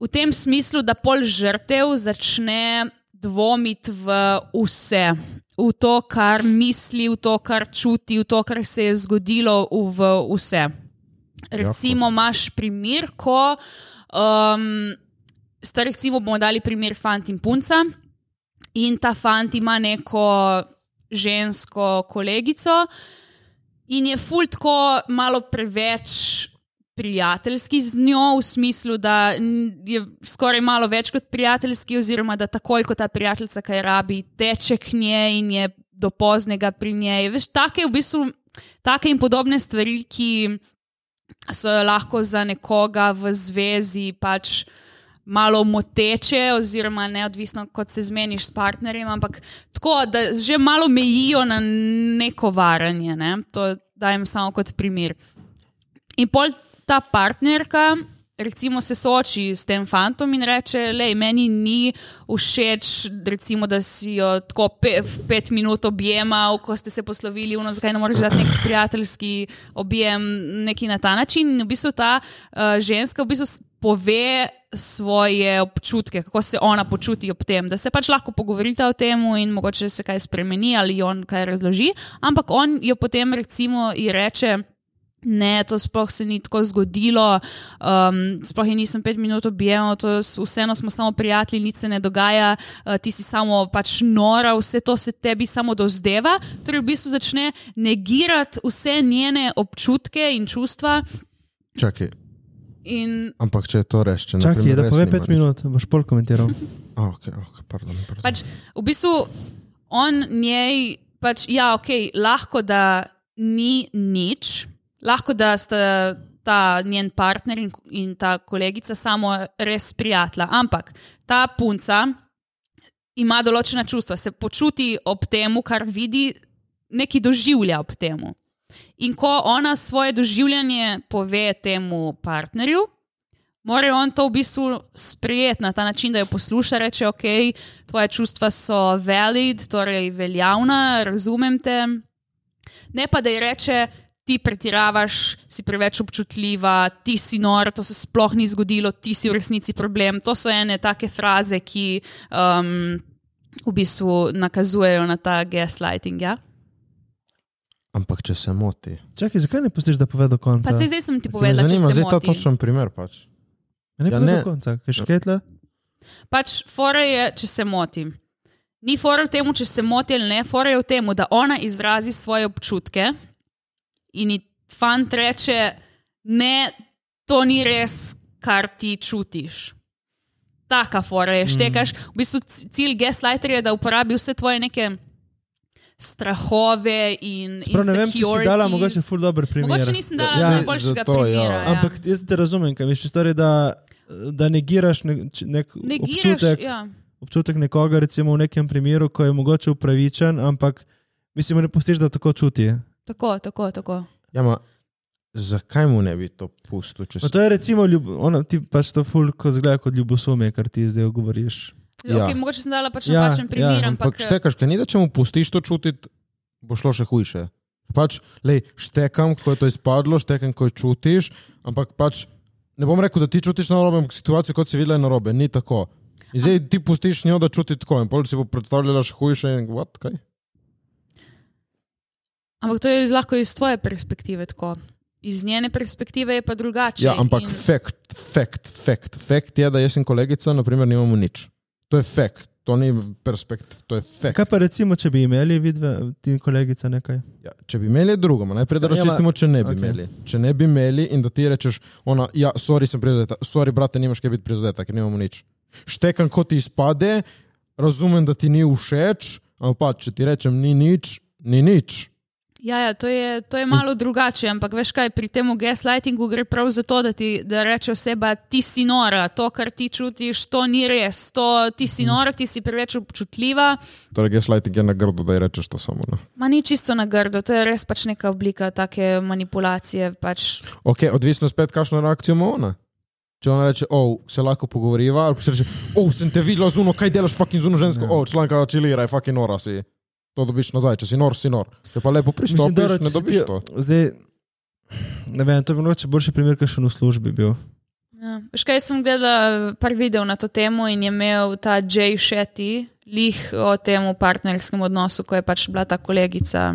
S3: v tem smislu, da pol žrtev začne dvomiti v vse. V to, kar misli, v to, kar čuti, v to, kar se je zgodilo, v v vse. Recimo, imaš primer, ko um, sta recimo bomo dali primer fant in punca, in ta fant ima neko žensko kolegico, in je ful tako malo preveč prijateljski z njo, v smislu, da n- je skoraj malo več kot prijateljski, oziroma da takoj, ko ta prijateljica kaj rabi, teče k njej in je do poznega pri njej. Veš, take, v bistvu, take in podobne stvari, ki so lahko za nekoga v zvezi pač malo moteče, oziroma neodvisno, kot se zmeniš s partnerjem, ampak tako, da že malo mejijo na neko varanje. Ne? To dajem samo kot primer. In pol ta partnerka. Recimo se sooči s tem fantom in reče: Lej, meni ni všeč, recimo, da si jo tako pe, v pet minut objemal, ko ste se poslovili, uno, zakaj ne moreš dati nek prijateljski objem, neki na ta način. In v bistvu ta uh, ženska v bistvu s- pove svoje občutke, kako se ona počuti ob tem, da se pač lahko pogovorita o tem in mogoče se kaj spremeni ali ji on kaj razloži. Ampak on jo potem, recimo, ji reče. Ne, to sploh se ni tako zgodilo, um, sploh je nisem pet minut objemal, to s- vseeno smo samo prijatelji, nič se ne dogaja, uh, ti si samo pač nora, vse to se tebi samo dozdeva. Torej, v bistvu začne negirati vse njene občutke in čustva.
S1: Čakaj,
S3: In
S1: ampak če je to reš, če ne
S4: Čakaj, je, da pove pet minut, boš pol komentiral.
S1: Ah, okay, okay, pardon, pardon.
S3: pač, v bistvu on njej, pač, ja, ok, lahko da ni nič, lahko da sta ta njen partner in, in ta kolegica samo res prijatelja. Ampak ta punca ima določena čustva, se počuti ob tem, kar vidi, nekaj doživlja ob tem. In ko ona svoje doživljanje pove temu partnerju, mora on to v bistvu sprejeti na ta način, da jo posluša, reče: Ok, tvoje čustva so valid, torej veljavna, razumem te. Ne pa da ji reče. Ti pretiravaš, si preveč občutljiva, ti si nor, to se sploh ni zgodilo, ti si v resnici problem. To so ene take fraze, ki um, v bistvu nakazujejo na ta gaslighting. Ja?
S1: Ampak če se moti.
S4: Čakaj, zakaj ne pustiš, da pove do konca?
S3: Pa se zdaj sem ti
S1: Ker me
S3: povedala, če
S1: zanima,
S3: se
S1: zdaj ta
S3: moti.
S1: točen primer pač.
S4: Ne
S1: Ja,
S4: pove
S1: ne.
S4: do konca, kaj še kaj tle?
S3: Pač fora je, če se motim. Ni fora v tem, če se motim ali ne, fora je v tem, da ona izrazi svoje občutke in ji fant reče, ne, to ni res, kar ti čutiš. Taka fora
S4: Mm.
S3: je, štekaš. V bistvu c- cilj gaslighterja je, da uporabi vse tvoje neke strahove in
S4: Prav ne vem, če si dala mogoče
S3: insecurities.
S4: ful dober primer.
S3: Mogoče nisem dala
S1: Ja,
S3: ja, najboljšega
S1: zato, ja.
S3: primera. Ja.
S4: Ampak jaz te razumem, kaj misliš, torej, da, da negiraš nek, č- nek
S3: negiraš,
S4: občutek,
S3: ja.
S4: občutek nekoga, recimo v nekem primeru, ko je mogoče upravičen, ampak mislim, ne pustiš, da tako čuti.
S3: tako, tako, tako.
S1: Ja, ma, zakaj mu ne bi to pustil, če
S4: No,
S1: se
S4: to je recimo, ljub, ono, ti pač to ful, ko zgleda kot ljubosumje, kar ti zdaj govoriš.
S1: Ja.
S3: Okay, mogoče sem dala pač
S4: Ja,
S3: napačen
S4: ja,
S3: primer,
S1: Ampak
S3: ampak,
S1: štekaš, ker ni da če mu pustiš to čutiti, bo šlo še hujše. Pač, lej, štekam, ko je to izpadlo, štekam, ko jo čutiš, ampak pač ne bom rekel, da ti čutiš na robe, ampak situacijo, kot si videla, je na robe, ni tako. In zdaj ti pustiš njo, da čuti tako, in pol si bo predstavljala še hujše in what, kaj?
S3: eh, Ampak to je iz- lahko iz tvoje perspektive tako. iz njene perspektive je pa drugače.
S1: Ja, ampak
S3: in-
S1: fakt, fakt, fakt. Fakt je, da jaz in kolegica, naprimer, nimamo nič. To je fakt, to ni perspekt, to je fakt.
S4: Kaj pa recimo, če bi imeli vidve, ti in kolegica nekaj?
S1: Ja, če bi imeli drugo, ma najprej da
S4: Ja, ja,
S1: razčistimo, če ne bi
S4: okej.
S1: okay. imeli. Če ne bi imeli in da ti rečeš, ona, ja, sorry, sem prizadeta, sorry, brate, nimaš kaj biti prizadeta, ker nimamo nič. Štekam, ko ti izpade, razumem, da ti ni všeč, ampak pa, če ti rečem, ni nič, ni nič.
S3: Ja, ja to, je, to je malo drugače, ampak veš kaj, pri tem gaslightingu gre prav za to, da ti da reče oseba, ti si nora, to, kar ti čutiš, to ni res, to, ti si
S1: Mhm.
S3: nora, ti si preveč občutljiva.
S1: Torej, gaslighting je na grdo, da ji rečeš to samo. Ne?
S3: Ma ni čisto na grdo, to je res pač neka oblika take manipulacije. Pač.
S1: Ok, odvisno spet, kakšno reakcijo ima ona. Če ona reče, oh, se lahko pogovoriva, ali pa se reče, oh, sem te videla zuno, kaj delaš, fucking zuno
S4: Ja.
S1: žensko, oh, članka čilira, fucking nora si. To dobiš nazaj, če si nor, si nor. Če pa lepo pristopiš,
S4: dobro,
S1: Mislim,
S4: če
S1: ne
S4: si
S1: dobiš
S4: ti-
S1: to.
S4: Zdaj, ne vem, to bi mogoče boljši primer, kaj še v službi bil.
S3: Ja. Veš kaj, sem gledala par videov na to temo in je imel ta Jay Shetty lih o tem partnerskem odnosu, ko je pač bila ta kolegica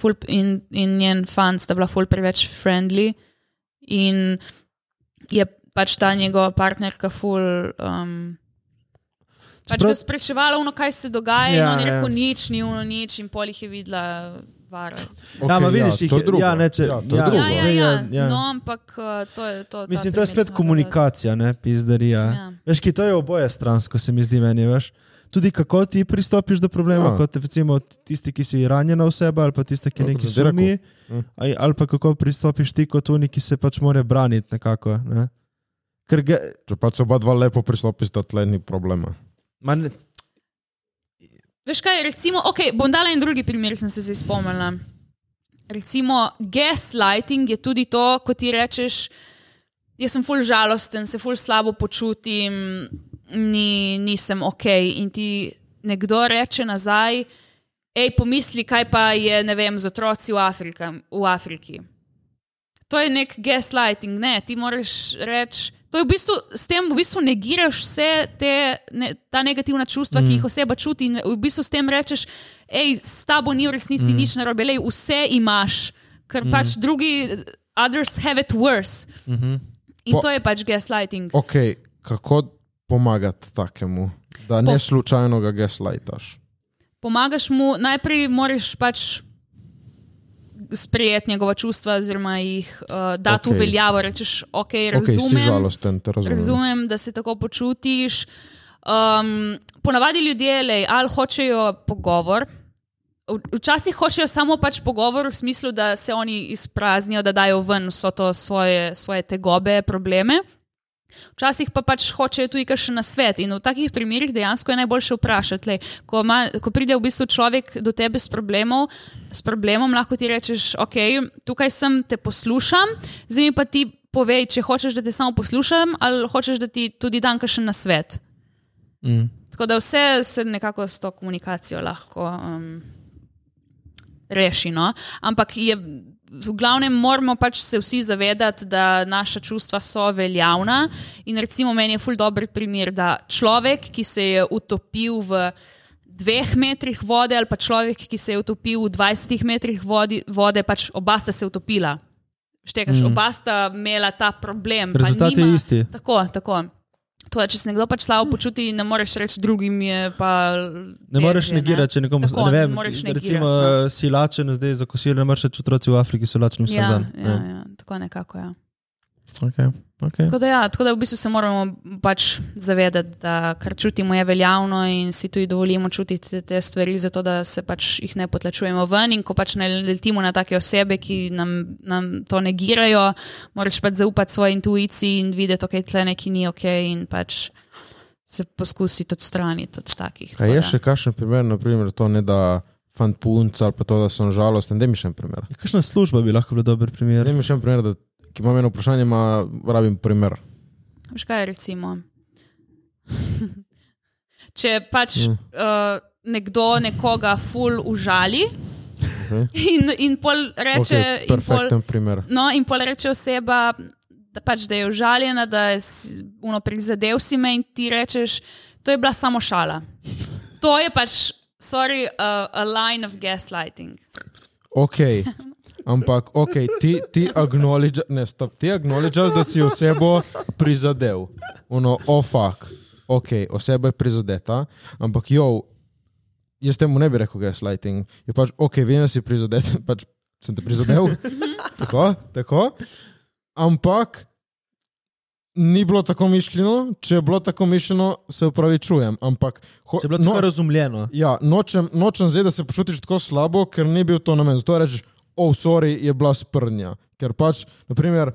S3: ful, in, in njen fant sta bila ful preveč friendly in je pač ta njegova partnerka ful. Um, Pač
S4: Čeprav-
S3: ga spraševala, ono, kaj se dogaja, ja, in
S4: Ja,
S3: on je
S4: ja.
S3: rekel, nič, ni ono, nič, in pol jih je videla vara.
S1: Okay,
S4: ja, ma vidiš, jih
S1: to je
S4: je-
S1: drugo.
S4: ja, ne, če-
S1: ja, to je
S4: ja.
S1: drugo.
S3: Ja, ja,
S4: Zdaj,
S3: ja.
S4: ja, ja.
S3: No, ampak eh, to je to. ta
S4: Mislim, to je
S3: primer
S4: spet
S3: smo
S4: komunikacija, ne pizdarija.
S3: Ja.
S4: Ja. Veš, ki to je oboje stransko, se mi zdi meni, veš. Tudi kako ti pristopiš do
S1: Ja.
S4: problema, ja. kot recimo tisti, ki si ranjena oseba ali pa tisti, ki
S1: Ja, kot bi
S4: nekaj
S1: rekel.
S4: sumi,
S1: Mm.
S4: ali, ali pa kako pristopiš ti kot oni, ki se pač more braniti nekako. Ne? Ker ga,
S1: Če pa se oba dva lepo pristopista, tle ni problema.
S4: man,
S3: Veš kaj, recimo, okay, bom dala en drugi primer, ki sem se zdaj spomnila. Recimo, gaslighting je tudi to, ko ti rečeš, jaz sem ful žalosten, se ful slabo počutim, ni, nisem ok. In ti nekdo reče nazaj, hej, pomisli, kaj pa je, ne vem, z otroci v, Afrika, v Afriki. To je nek gaslighting, ne, ti moraš reči. To je v bistvu, s tem v bistvu negiraš vse te, ne, ta negativna čustva, mm. ki jih oseba čuti, in v bistvu s tem rečeš, hej, s tabo ni v resnici mm. nič narobe, lej, vse imaš, ker mm. pač drugi, others have it worse. Mm -hmm. In
S1: Po-
S3: po, to je pač gaslighting.
S1: Ok, kako pomagati takemu, da ne
S3: Po-
S1: slučajno ga gaslightaš?
S3: pomagaš mu, najprej moraš pač sprejeti njegova čustva, oziroma jih uh, dati
S1: Okej.
S3: okay. v veljavo. Rečeš, ok,
S1: Ok,
S3: razumem.
S1: si žalosten, te razumem.
S3: Razumem, da se tako počutiš. Um, ponavadi ljudje lej, ali hočejo pogovor. v- Včasih hočejo samo pač pogovor v smislu, da se oni izpraznijo, da dajo ven vso to svoje, svoje tegobe, probleme. Včasih pa pač hočejo tudi kakšen nasvet in v takih primerih dejansko je najboljše vprašati. Lej, ko, ima, ko pride v bistvu človek do tebe s, problemov- s problemom, lahko ti rečeš, ok, tukaj sem, te poslušam, zdaj mi pa ti povej, če hočeš, da te samo poslušam ali hočeš, da ti tudi dam kakšen nasvet.
S4: Mm.
S3: Tako da vse se nekako s to komunikacijo lahko um, reši. No? Ampak je, v glavnem moramo pač se vsi zavedati, da naša čustva so veljavna. In recimo meni je ful dober primer, da človek, ki se je utopil v dveh metrih vode, ali pa človek, ki se je utopil v 20 metrih vodi, vode, pač oba sta se utopila. Štekaš, mm. oba sta imela ta problem. pa
S4: Rezultat je
S3: nima,
S4: isti.
S3: Tako, tako. To je, če se nekdo pač slabo počuti, ne moreš reči drugim, je pa.
S4: Hm. ne moreš
S3: težje, ne.
S4: negirati, če nekomu
S3: Tako,
S4: ne
S3: ne
S4: vem,
S3: moreš
S4: recimo
S3: negirati, no.
S4: si lačen, zdaj za kosilo ne moreš več otroci v Afriki so lačni vsak
S3: Ja,
S4: dan.
S3: ja, ja, tako nekako. Ja.
S4: Okay. Okay.
S3: Tako, da, ja, tako da v bistvu se moramo pač zavedati, da kar čutimo je veljavno in si tudi dovolimo čutiti te, te stvari, zato da se pač jih ne potlačujemo ven. In ko pač ne letimo na take osebe, ki nam, nam to negirajo, moraš pač zaupati svoji intuiciji in videti, ok, tle neki ni ok in pač se poskusiti odstraniti od takih.
S1: Kaj
S3: Tako
S1: je
S3: da-
S1: še kakšen primer, naprimer, to ne da fant punca ali pa to, da sem žalosten, da mi še en primer.
S4: Kakšna služba bi lahko bila dober primer?
S1: Ne mi še en primer, da ki imam eno vprašanje, ima, rabim primer.
S3: Veš kaj, recimo. <laughs> Če pač mm. uh, nekdo nekoga ful užali okay. <laughs> in, in pol reče,
S1: Okej,
S3: in pol,
S1: perfekten primer.
S3: no, in pol reče oseba, da, pač, da je užaljena, da je s- uno prizadel si me in ti rečeš, to je bila samo šala. To je pač, sorry, uh, a line of gaslighting.
S1: Ok, Ampak, ok, ti, ti acknowledge, ne, stop, ti acknowledgeš, da si osebo prizadel. Ono, ofak, oh, ok, oseba je prizadeta, ampak jo, jaz temu ne bi rekel, da je slighting. Je pač, ok, vem, da si prizadet, <laughs> pač sem te prizadel. tako, tako. Ampak. Ni bilo tako mišljeno, če je bilo tako mišljeno, se upravičujem. Ampak, ho,
S4: Če je bilo tako no, razumljeno.
S1: Ja, nočem, nočem zdaj, da se počutiš tako slabo, ker ni bil to namen. Zato rečeš, oh, sorry, je bila sprnja. Ker pač, naprimer,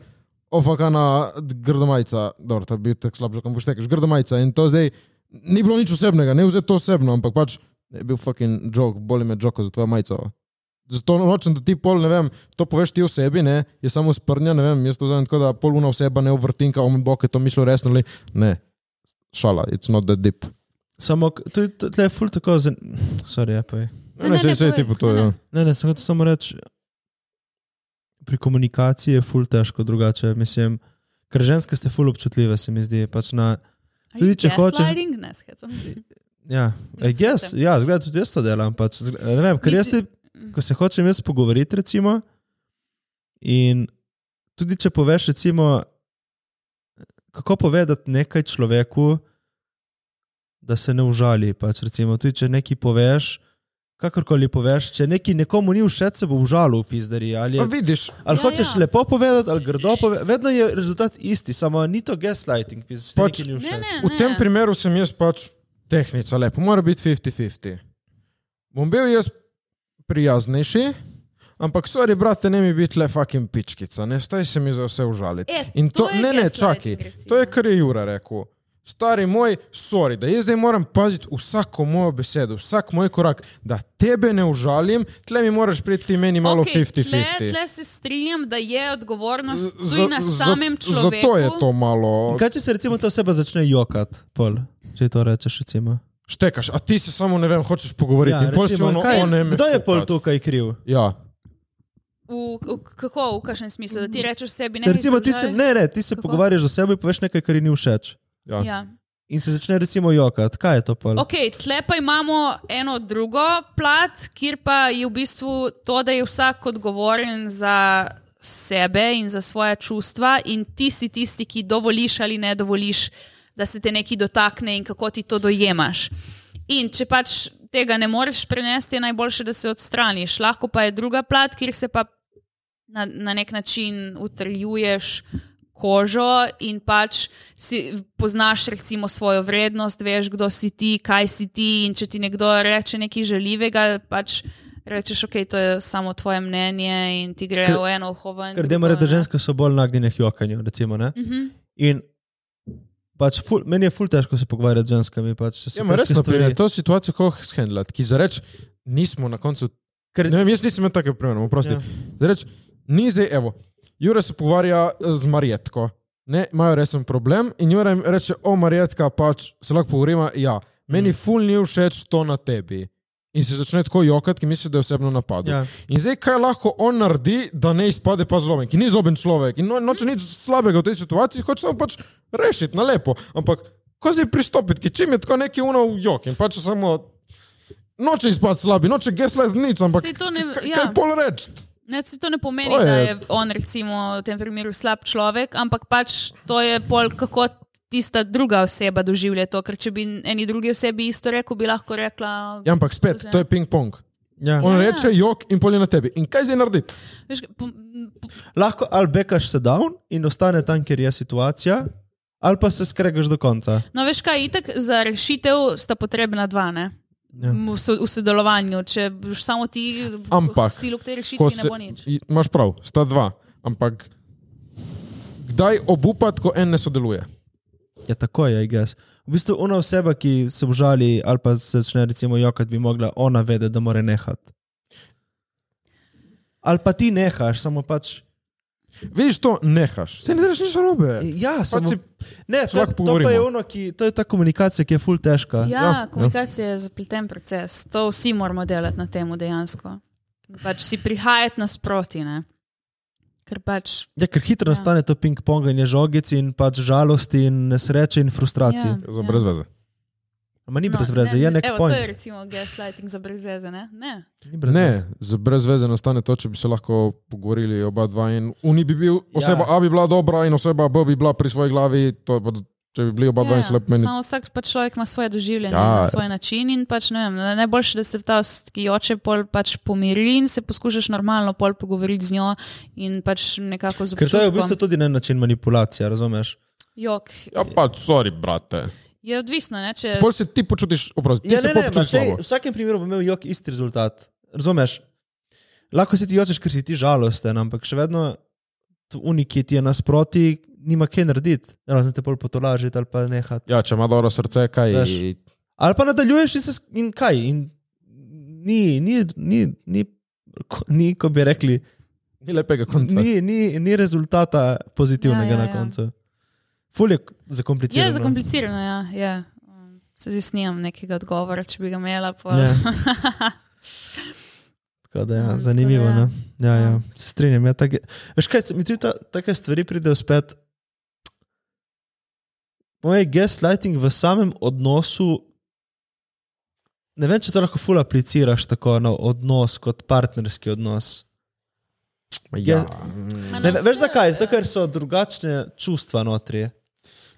S1: ofakana grdomajca, dobro, ta bi bil tako slab, že kam boš tekaš, grdomajca in to zdaj ni bilo nič osebnega, ne vzeti to osebno, ampak pač je bil fucking jok, boli me joko za tvojo majico. Zato nočem, da ti pol, ne vem, to poveš ti osebi, ne, je samo sprnja, ne vem, jaz to vzamem tako, da pol una oseba ne uvrtinka, omen bok je to mislil resno, ali ne, šala, it's not that deep.
S4: Samo, k- to je to- tle je ful tako, zan... sorry, ja, povej.
S3: Ne, ne, ne,
S1: saj- saj
S3: povej.
S1: tipu to,
S3: Ne, ne.
S1: ja.
S4: Ne, ne, sem hotel samo reči, pri komunikaciji je ful težko drugače, mislim, ker ženske ste ful občutljive, se mi zdi, pač na, Tudi če hoče-
S3: Sliding, ne, skecam.
S4: ja, I guess, ja, zgleda tudi jaz to delam, pač, zg- ne vem, ker jaz ti,
S3: Misli-
S4: ko se hočem jaz pogovoriti, recimo, in tudi če poveš, recimo, kako povedati nekaj človeku, da se ne užali, pač, recimo, tudi če nekaj poveš, kakorkoli poveš, če nekaj nekomu ni všeč, se bo užalil, pizdari, ali
S1: Pa
S4: je
S1: vidiš,
S4: Ali
S3: Ja,
S4: ja, hočeš
S3: ja.
S4: ja. lepo povedati, ali grdo povedati, vedno je rezultat isti, samo ni to gaslighting, pisaš.
S1: Pač-
S4: Pač,
S3: Ne, ne, ja.
S1: V tem primeru sem jaz pač tehnica, lepo, mora biti 50-50. Bom bil jaz prijaznejši, ampak, sorry, brate, ne mi biti le fucking pičkica, ne staj se mi za vse užaliti.
S3: E,
S1: In
S3: to
S1: to,
S3: je
S1: ne, ne,
S3: gaslighting,
S1: čakaj,
S3: recimo.
S1: to je kar je Jura rekel. Stari moj, sorry, da jaz zdaj moram paziti vsako mojo besedo, vsak moj korak, da tebe ne užalim, tle mi moraš priti ti meni malo
S3: Okej,
S1: 50-50.
S3: Tle, tle se strinjam, da je odgovornost
S1: Z-
S3: tudi na
S1: za-
S3: samem človeku.
S1: Zato je to malo.
S4: Kaj če se recimo ta oseba začne jokati, pol, če ji to rečeš? Recimo.
S1: Štekaš, a ti se samo ne vem, hočeš pogovoriti. Ja, recimo, si ono,
S4: kaj,
S1: o, ne, me
S4: kdo je pol
S1: fukat."
S4: tukaj kriv?
S1: Ja,
S3: V, v, kako, v kakšnem smislu, da
S1: Mm.
S3: ti rečeš sebi
S4: Ne,
S3: ne.
S4: recimo,
S3: nisem
S4: ti se,
S3: žal.
S4: ne, ne, ti se
S3: Kako?
S4: pogovarjaš z osebo in poveš nekaj, kar ji ni všeč.
S1: ja. ja.
S3: Ja.
S4: In se začne recimo jokati. Kaj je to pol?
S3: Ok, tle pa imamo eno drugo plat, kjer pa je v bistvu to, da je vsak odgovoren za sebe in za svoje čustva, in ti si tisti, ki dovoliš ali ne dovoliš, da se te nekaj dotakne in kako ti to dojemaš. In če pač tega ne moreš prenesti, je najboljše, da se odstraniš. Lahko pa je druga plat, kjer se pa na, na nek način utrjuješ kožo in pač si, poznaš recimo svojo vrednost, veš, kdo si ti, kaj si ti in če ti nekdo reče nekaj žaljivega, pač rečeš, ok, to je samo tvoje mnenje in ti gre
S4: Ker-
S3: v eno uho. in
S4: Ker
S3: drugo
S4: demo reči, da
S3: ne.
S4: ženske so bolj nagnjene k jokanju. Recimo, ne?
S3: Mhm.
S4: In pač ful, meni je ful težko se pogovarjati z ženskami. Pač, če so
S1: ja ma
S4: težke
S1: resno,
S4: stvari.
S1: primer, to situacijo kako shendlati, ki zareč, nismo na koncu. Ker, ne vem, jaz nisem imel takega primera, oprosti.
S4: Ja.
S1: Ja. Zareč, ni zdaj, evo, Jure se pogovarja eh, z Marjetko, ne, imajo resen problem in Jure jim reče, o Marjetka, pač se lahko pogovorimo, ja,
S4: Mm.
S1: meni ful ni všeč to na tebi. In se začne tako jokati, ki misli, da je osebno napadlo.
S4: Ja.
S1: In zdaj, kaj lahko on naredi, da ne izpade pa zlomen, ki ni zloben človek in no, noče nič slabega v tej situaciji, hoče samo pač rešiti na lepo. Ampak ko zdaj pristopiti, ki čim je tako neki unov jok in pač samo noče izpad slabi, noče geslet nič, ampak
S3: Saj to ne-
S1: k-
S3: ja.
S1: kaj pol reči.
S3: Ne, saj to ne pomeni,
S1: To
S3: to
S1: je-
S3: je... da je on recimo v tem primeru slab človek, ampak pač to je pol, kako tista druga oseba doživlja to. Ker če bi eni drugi osebi isto rekel, bi lahko rekla.
S1: Ja, ampak spet, to je ping-pong.
S4: Ja.
S1: On
S3: Ja.
S1: reče jok in pol je na tebi. In kaj zdaj narediti?
S3: Veš, po, po,
S4: Lahko ali bekaš se down in ostane tam, kjer je situacija, ali pa se skregaš do konca.
S3: no, veš kaj, itek za rešitev sta potrebna dva. Ne?
S4: Ja.
S3: V, so, v sodelovanju, če boš samo ti,
S1: Ampak,
S3: si luk te rešitve,
S1: Ko
S3: se... ne bo nič.
S4: Ja,
S1: i- imaš prav, sta dva, ampak kdaj obupati, ko en ne sodeluje?
S4: Ja, tako je, igas. V bistvu ona oseba, ki se užali ali pa se začne recimo jokati, bi mogla ona vedeti, da mora nehati. Ali pa ti nehaš, samo pač.
S1: Vidiš to, nehaš. Se ne držiš nič robe.
S4: Ja, samo,
S1: Pač si-
S4: ne,
S1: se
S4: to,
S1: lahko
S4: to, pa je
S1: pogovorimo.
S4: ono, ki, to je ta komunikacija, ki je full težka.
S3: Ja,
S1: ja.
S3: komunikacija je zapleten proces. To vsi moramo delati na tem dejansko. Pač si prihajati nasproti. Ne? Ker pač
S4: Ja, ker hitro
S3: Ja.
S4: nastane to ping-ponganje žogic in pač žalosti in nesreče in frustracij.
S3: Ja.
S4: Ja.
S1: Za brez veze.
S4: Ma ni brez veze, je nek
S3: no, Evo,
S4: point.
S3: to je recimo gaslighting za brez veze, ne? Ne.
S4: Ni brez veze.
S1: Ne, z brez veze nastane to, če bi se lahko pogovorili oba dva. in Uni bi
S4: Ja.
S1: bil, oseba A bi bila dobra in oseba B bi bila pri svoji glavi. to je pa z- Če bi bili oba dva in slep meni.
S3: Ja, Samo vsak pač človek ima svoje doživljanje,
S1: Ja.
S3: ja. na svoj način in pač ne vem, na- najboljše, da se ta, s- ki joče, pol pač pomiri in se poskušaš normalno pol pogovoriti z njo in pač nekako
S4: Ker to je v
S3: zapisati.
S4: bistvu tudi en način manipulacije, razumeš?
S3: Jok,
S1: Ja, pač, sorry, brate.
S3: je odvisno, ne? Če
S1: Pol se ti počutiš, oprosti, ti
S4: Ja,
S1: se
S4: ne, ne, ma
S1: počutiš
S4: sej,
S1: slabo.
S4: v vsakem primeru bo imel jok isti rezultat. Razumeš? Lahko se ti jočeš, ker si ti žalosten, ampak še vedno unik, ki ti je nasproti, nima kaj narediti, razen te pol potolažiti ali pa nehati.
S1: Ja, če ima dobro srce, kaj
S4: Veš.
S1: je.
S4: Ali pa nadaljuješ in, se, sk- in kaj. In ni, ni, ni, ni, ko- ni, ko bi rekli,
S1: Ni lepega konca.
S4: ni, ni, ni rezultata pozitivnega
S3: Ja,
S4: ja,
S3: ja,
S4: ja, na
S3: ja.
S4: koncu. Ful je k- zakomplicirano.
S1: no.
S3: je zakomplicirano, ja. Je. Um, Se zdaj snimam nekega odgovora, če bi ga imela. pol.
S4: Ja. <laughs> Tako da,
S3: Ja,
S4: ja,
S3: tako
S4: zanimivo.
S3: da ja.
S4: ne. Ja, ja, se strinjam. Ja, tak, je- veš kaj, se mi tudi ta, take stvari pridejo spet. Moj gaslighting v samem odnosu. Ne vem, če to lahko ful apliciraš tako na odnos kot partnerski odnos.
S1: Ja.
S3: Ma na
S4: Ne, ve- veš
S3: vse,
S4: zakaj?
S3: ja.
S4: Zato, ker so drugačne čustva notri.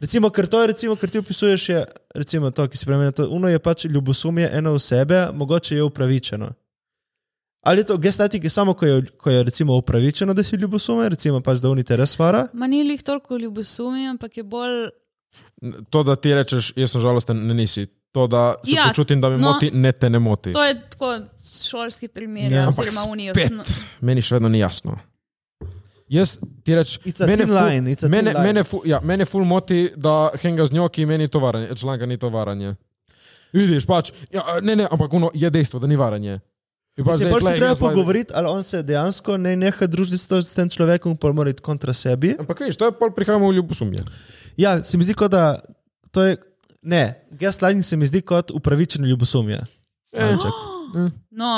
S4: Recimo, ker to je, recimo, kar ti opisuješ, je recimo to, ki se premeni. To, uno je pač ljubosumje eno v sebe, mogoče je upravičeno. Ali je to gesnatik samo, ko je, ko je recimo upravičeno, da si ljubosume, recimo pač, da unite res vara?
S3: Ma ni jih toliko ljubosumi, ampak je bolj.
S1: To, da ti rečeš, jaz sem žalosten, ne nisi. To, da se
S3: Ja,
S1: počutim, da me
S3: no.
S1: moti, ne te ne moti.
S3: To je tako šolski primer,
S4: Ja.
S3: ja,
S1: Ampak
S3: oziroma unijo.
S1: spet, meni še vedno ni jasno. Jaz ti rečem,
S4: It's a thin line, it's a thin
S1: mene,
S4: line.
S1: mene, ful, ja, mene ful moti, da henga z njo, ki meni to varanje, članka ni to varanje. Vidiš, pač, ja, ne, ne, ampak ono je dejstvo, da ni varanje. In pač
S4: Se
S1: zdaj,
S4: pač
S1: glej,
S4: treba
S1: jaz lahko-
S4: pogovoriti, ali on se dejansko ne neha družiti s, to- s tem človekom, pa mora iti kontra sebi.
S1: Ampak veš, to je pol prihajamo v ljubosumje.
S4: Ja, se mi zdi, kot da to je. Ne, gaslighting se mi zdi kot upravičeno ljubosumje.
S1: Eh,
S4: Anček.
S3: No,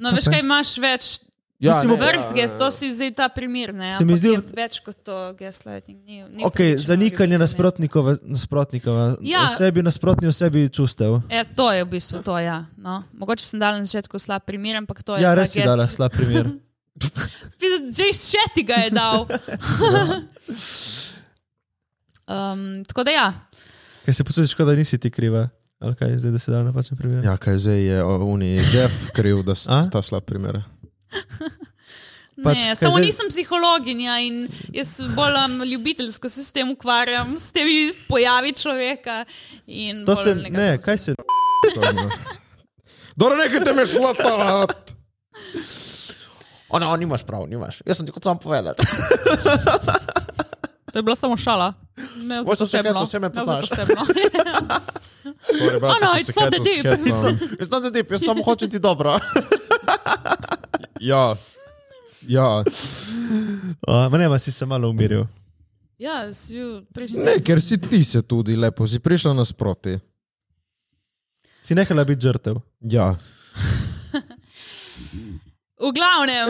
S3: no veš, kaj imaš več.
S1: Ja,
S3: Ja,
S1: ne,
S3: vrst, ja, to si zdaj ta primer. Ne,
S4: Se mi
S3: ampak
S4: zdi-
S3: je več kot to gaslighting. Ni, ni
S4: Okay,
S3: upravičeno
S4: zanikanje
S3: ljubosumje.
S4: nasprotnikova, nasprotnikova ja.
S3: Ja.
S4: osebi, nasprotni osebi čustev.
S3: E, to je v bistvu to. Ja, no. Mogoče sem dal na začetku slab primer, ampak to je.
S4: Ja,
S3: ta
S4: res si
S3: gas- <laughs>
S4: dala slab primer.
S3: Pizd- Že iz šeti ga je
S4: <laughs>
S3: dal. um, tako da ja,
S4: Ker se počutiš, kot da nisi ti kriva. Ali kaj, zdaj, da si dala napačen primer?
S1: Ja, kaj zdaj je Unij Jeff kriv, da
S4: A?
S1: sta slab primer.
S4: Pač,
S3: ne,
S4: kaj
S3: samo
S4: zdaj-
S3: nisem psihologinja in jaz bolj um, ljubiteljsko se s tem ukvarjam, s temi pojavi človeka. in
S4: To
S3: bolj
S4: se
S3: nekako-
S4: ne, kaj se.
S1: Dobro, nekaj te me šlo stavati.
S5: Ona, on nimaš prav, nimaš. Jaz sem ti kot sam povedal.
S3: To je bila samo šala. Ne,
S5: Veš, to se heca, vse me poznaš.
S1: Sorry, brat,
S3: no, it's not the deep.
S5: <laughs> Jaz sem ti dip, jaz samo hočem ti dobro.
S1: Ja, ja.
S4: Uh, ne, ma si se malo umiril.
S3: ja, si bil prejšnji.
S1: Ne, ker si ti se tudi lepo, si prišla nasproti.
S4: Si nehala biti žrtev.
S1: Ja.
S3: V glavnem,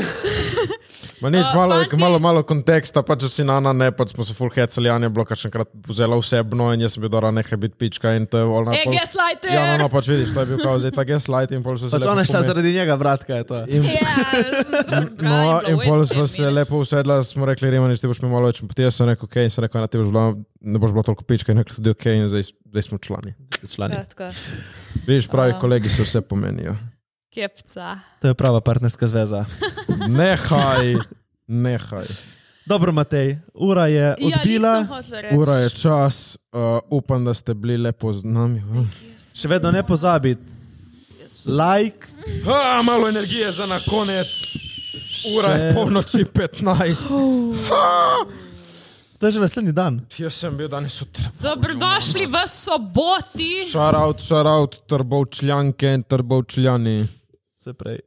S1: Ma nič,
S3: A,
S1: malo,
S3: fanti-
S1: malo, malo konteksta, pa če si na na ne, pa smo se full hecali, Anja je bila kakšenkrat vzela osebno in jaz sem bil dobra, nehaj biti pička in to je ona.
S3: e,
S1: pol-
S3: gaslighter!
S1: Ja, no, no, pač vidiš, to je bil kao zdaj ta gaslight in pol so se.
S4: Pač
S1: lepo
S4: ona je šla
S1: pome-
S4: zaradi njega, brat, kaj je to.
S1: In,
S3: E,
S1: <laughs>
S3: Ja,
S1: no, in pol smo se lepo usedla, smo rekli, Rimanič, ti boš mi malo več potija, sem rekel, ok, in sem rekel, "Ana, ti boš bila, ne boš bila toliko pička in rekli tudi ok, in zdaj, zdaj smo člani.
S4: Člani.
S3: Kratko,
S1: Vidiš, pravi
S3: A.
S1: kolegi se vse pomenijo.
S3: kepca. Ja,
S4: To je prava partnerska
S3: <laughs>
S4: zveza.
S1: Nehaj, nehaj.
S4: Dobro, Matej, ura je
S3: Ja,
S4: odbila.
S3: nisem hotela reči.
S1: Ura je čas, uh, upam, da ste bili lepo z nami. hm.
S4: Še vedno ne pozabiti. Like,
S1: Ha, malo energije za na konec. Ura je
S4: Še-
S1: polnoči 15.
S4: to je že naslednji dan.
S1: Jaz sem bil danes utrp.
S3: Dobrodošli v soboti.
S1: Šaraut, šaraut, trbovčljanke in trbovčljani.
S4: Se prej.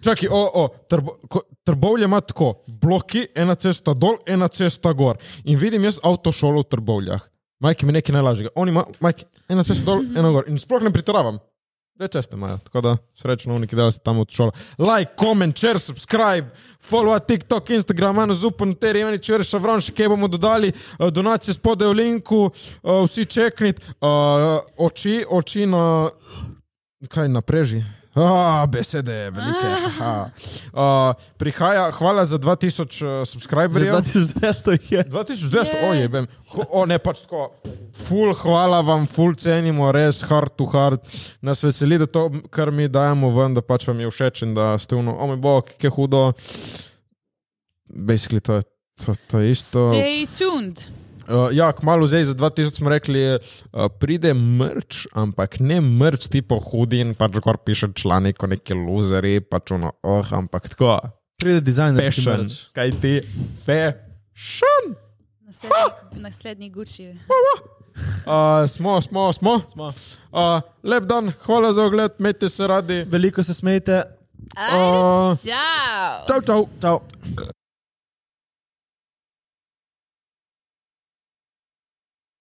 S1: Čakaj, o, o, trbo, ko, trbovlje ima tako, bloki, ena cesta dol, ena cesta gor. In vidim jaz avtošolo v trbovljah. Majki mi nekaj najlažjega. On ima, majki, ena cesta dol, ena gor. In sploh ne pretiravam. Več česte imajo, tako da srečno uniki, da ste tam od šole. Like, comment, share, subscribe, follow TikTok, Instagram, eno zupan, te reveni, če reš avron, še kaj bomo dodali, eh, donacije spodaj v linku, eh, vsi čeknit, eh, oči, oči na, kaj napreži. Ah, besede, velike. haha. Uh, prihaja, hvala za 2000 uh, subscriberjev.
S4: 2200 jih je.
S1: 2200, ojebem. O ne, pač tako. Ful, hvala vam, ful cenimo, res hard to hard. Nas veseli, da to, kar mi dajemo ven, da pač vam je všeč in da ste vno, o moj bog, kje hudo. Basically, to je, to, to je isto.
S3: Stay tuned.
S1: Uh, ja, kmalo zdaj za 2000 smo rekli, uh, pride mrč, ampak ne mrč tipo hudin, pač kar piše članek o neki luzeri, pač ono, oh, ampak tako.
S4: Pride dizajnerski
S1: Fashion,
S4: merch.
S1: kaj ti, fashion.
S3: Naslednji, naslednji
S1: <laughs>
S3: Gucci.
S1: Uh, smo, smo, smo. smo. Uh, lep dan, hvala za ogled, imejte se radi.
S4: Veliko se smejte.
S3: Ajde, čau!
S1: Čau, čau.
S4: Čau.